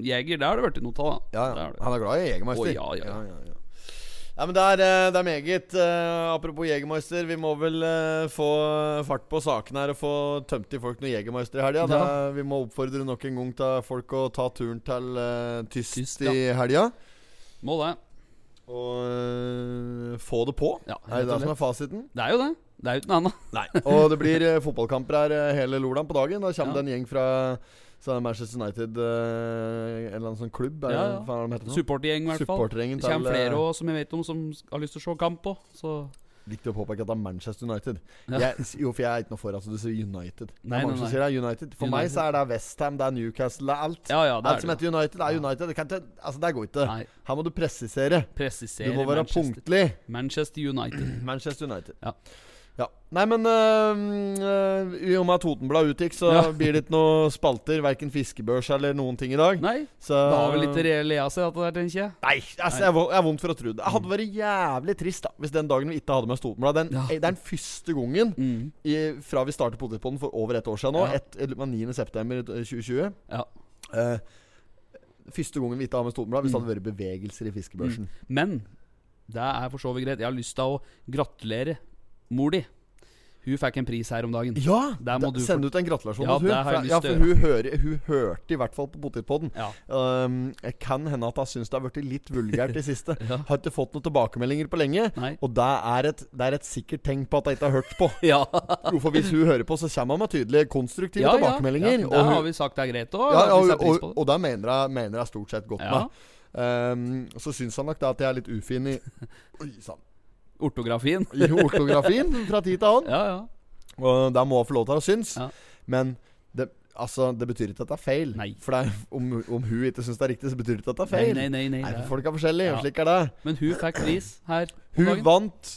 Jeger, der har det blitt noe av, da. Ja, Det ja. er det. Han er glad i Jegermeister. Å, ja, ja, ja. ja. Nei, men det er, eh, det er meget. Eh, apropos Jegermeister, vi må vel eh, få fart på sakene her og få tømt til folk noen Jegermeister i helga. Det Ja. er- Vi må oppfordre nok en gang til folk å ta turen til eh, Tyst, Tyst, i helga. Må det. Og eh, få det på. Ja, rett er det og det som er fasiten? Det er jo det. Det er jo ikke noe annet. Nei. *laughs* og det blir eh, fotballkamper her eh, hele lordagen på dagen. Da Ja. kommer det en gjeng fra så er det Manchester United, eh, en eller annen sånn klubb. Er, Ja, det- ja. Hva er det de heter nå? Supportergjeng, i hvert fall. Supportergjengen Det kommer til, eh, flere også, som jeg vet om, som har lyst til å se kamp på. Så Viktig å påpeke at det er Manchester United. Ja. Jeg, jo, for jeg er ikke noe for altså, du sier United. Det er Nei, mange nei, som nei. sier det er United. For meg United. så er det Westham, det er Newcastle, det er alt. Ja, ja, det alt er som det. heter United, er United. Det, kan ikke, altså, det går ikke. Nei. Her må du presisere. Du Presiserer må være Manchester. punktlig. Manchester *clears throat* United. Manchester United. Ja. Ja. Nei, men øh, øh, i og med at Totenblad utgikk, så Ja. blir det ikke noe spalter. Verken fiskebørs eller noen ting i dag. Nei, Så det har vel litt Eh. reell EAC, dette der, tenker jeg. Nei, altså, jeg, er vondt for å tro det. Det hadde vært jævlig trist da hvis den dagen vi ikke hadde med oss Totenbladet den, Ja. Det er den første gangen Mm. i, fra vi startet Potetpodden for over et år siden nå, Ja. et- eller, det var 9. september 2020 Ja. eh, Første gangen vi ikke hadde med oss Totenbladet hvis det hadde vært bevegelser i fiskebørsen. Men det er for så vidt greit. Jeg har lyst til å gratulere mor di. Hun fikk en pris her om dagen. Ja! Der må da- du Send ut en gratulasjon Ja, til det har jeg hun. lyst Ja, til å for hun, hører, hun hørte i hvert fall på Potetpodden. Ja. Um, jeg kan hende at hun syns det har blitt litt vulgært *laughs* i siste. Har ikke fått noen tilbakemeldinger på lenge. *laughs* Nei. Og det er, et, det er et sikkert tegn på at hun ikke har hørt *laughs* på. Ja, Jo, for hvis hun hører på, så kommer hun med tydelige, konstruktive ja, tilbakemeldinger. Ja, og, der hun, har vi sagt det er greit òg. ja, og, pris og, på det. og der mener jeg, mener jeg stort sett godt Ja. med. Ehm, så syns han nok da at jeg er litt ufin i Oi sann. *laughs* Ortografien. I ortografien fra tid til annen. Ja, ja. Og der må hun få lov til å synes. Ja. Men det, altså, det betyr ikke at det er feil. Nei. For det er, om, om hun ikke syns det er riktig, så betyr det ikke at det er Nei, feil. nei, nei. nei, Nei, det- for Folk er Ja. forskjellige, og slik er det. Men hun fikk pris her om Hun dagen. vant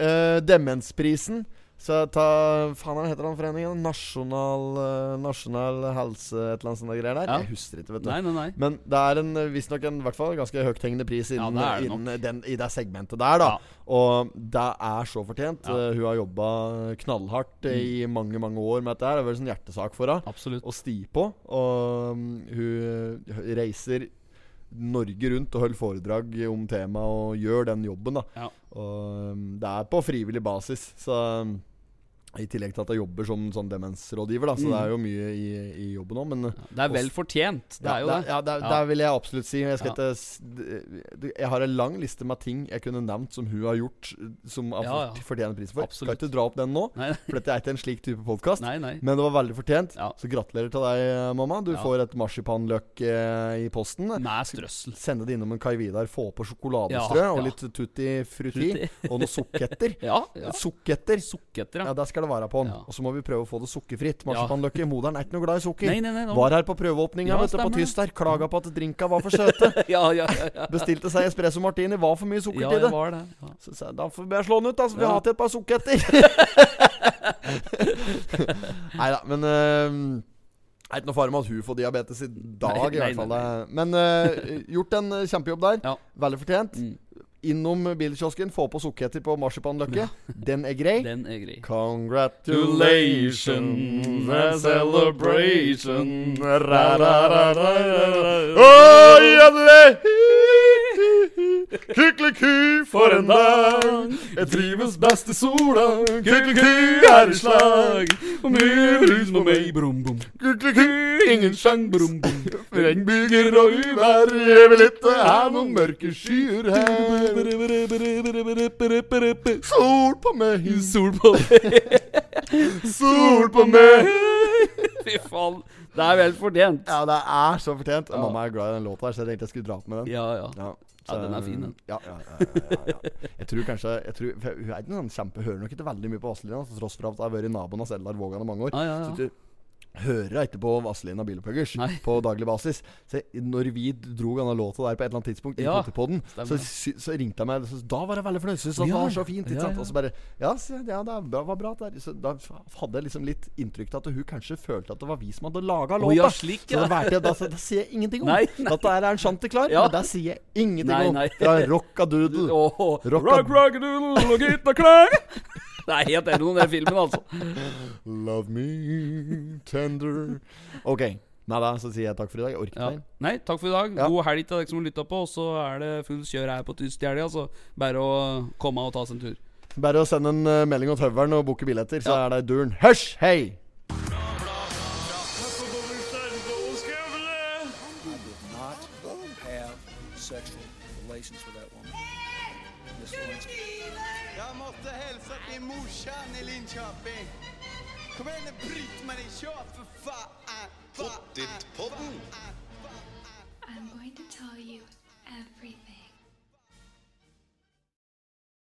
eh, demensprisen. Så ta Faen, hva heter den foreningen? Nasjonal, eh, nasjonal helse Et eller annet sånt greier der. Ja. Jeg husker ikke, vet du. Nei, nei, nei. Men det er en eh, visstnok en i hvert fall ganske høythengende pris Ja, innen, det er det nok. innen den, i det segmentet der, da. Ja. Og det er så fortjent. Ja. Mm. Eh, hun har jobba knallhardt eh, i mange, mange år med dette her. Det har vært en sånn hjertesak for henne Absolutt. å sti på. Og mm, hun eh, reiser Norge rundt og holder foredrag om temaet og gjør den jobben. da Ja. Og mm, det er på frivillig basis. Så mm, I tillegg til at jeg jobber som sånn demensrådgiver, Mm. da så det er jo mye i, i jobben òg. Men eh, Det er vel fortjent. Det er jo ja, det. Ja, det, er- Ja. det vil jeg absolutt si. Jeg, skal Ja. ikke s- d- d- jeg har en lang liste med ting jeg kunne nevnt som hun har gjort, som har Ja, ja. fått- fortjener pris for. Absolutt. Skal ikke dra opp den nå, Nei, for dette er ikke en slik type podkast. nei. nei. Men det var veldig fortjent. Ja. Så gratulerer til deg, eh, mamma. Du Ja. får et marsipanløk eh, i posten. Med strøssel. Sende det innom en Kai Vidar, få på sjokoladestrø Ja, ja. og litt tutti frutti. Og noen sukketter. Ja. *laughs* ja. Sukketter! Sukketer, Ja, ja. der skal det være på den. Ja. Og så må vi prøve å få det sukkerfritt. Marsipanløket. Moderen er ikke noe glad i sukker. Nei, nei, nei. nå- Var her på prøveåpninga Ja, vet du, på stemmer det. Tyst her. Klaga på at drinka var for søte. Ja, ja, ja. *laughs* ja. Bestilte seg espresso martini. Var for mye sukker Ja, til det det. var det. Ja. Så sa jeg, da får jeg slå den ut, da, så får vi Ja. har til et *laughs* par *laughs* sukketter. Nei da, men eh, det er ikke noe fare med at hun får diabetes i dag, Nei, i nei, hvert fall. nei, Men eh, gjort en eh, kjempejobb der. Ja. Veldig fortjent. Mm. Innom bilkiosken, få på sukketter på marsipanløkke. Den er grei. Den er grei. Congratulations and celebration Ra-ra-ra-ra-ra-ra. Oi, jævlig! Kykeliky for en dag Jeg trives best i sola Kykeliky er i slag Og mye brus på meg, brum, brum. Kykeliky, ingen sjang Brum, brum. Regnbyger og uvær Jeg vil ikke ha eh, noen mørke skyer her Sol på meg Sol på meg. Sol på meg *laughs* Fy faen. Det er vel fortjent. Ja, det er så fortjent. Mamma er glad i den låta, her, så jeg tenkte jeg skulle dra opp med den. Ja, ja. Ja. Ja, den er fin, den. *laughs* Ja, ja, ja, ja, ja. Jeg tror kanskje jeg tror, for Hun er ikke noen kjempe Hører nok ikke veldig mye på Vazelina, altså, til tross for at jeg har vært naboen av Eldar Vågan i mange år. Ja, ja, ja. Så du hører ikke på Vazelina Bilpuggers Nei. på daglig basis. Så jeg- når vi dro denne låta der på et eller annet tidspunkt, i Ja, Potipodden, så, sy- så ringte jeg meg så, Da var jeg veldig fornøyd. Syns at det Ja. var så fint. Ikke Ja, sant? ja. Og så bare Ja, så, ja det er bra, var bra. Der. Så da hadde jeg liksom litt inntrykk av at hun kanskje følte at det var vi som hadde laga låta. Å, ja, slik, ja. Så det valgte jeg, da, så, det sier jeg ingenting om. Nei, At det her er en chanticleer. Ja. Men det sier jeg ingenting Nei, om. nei. Det er rockadoodle. Åh, Rock- rock, rock, doodle, og gitt og *laughs* klang. Det er helt enig med den filmen, altså. Love me tender Ok. Nei da, så sier jeg takk for i dag. Jeg Ja. orker ikke mer. Nei, takk for i dag. Ja. God helg til dere som har lytta på. Og så er det fullt kjør her på Tyst i helga, så altså. bare å komme og ta seg en tur. Bare å sende en eh, melding til høvelen og booke billetter, så er det i duren. Hysj! Hei! Not have sexual relations with that woman. Miss Lewinsky. Jag måste hälsa till morsan i Linköping. Kom igen nu Britt-Marie, kör för fan! Pottit-podden. I'm going to tell you.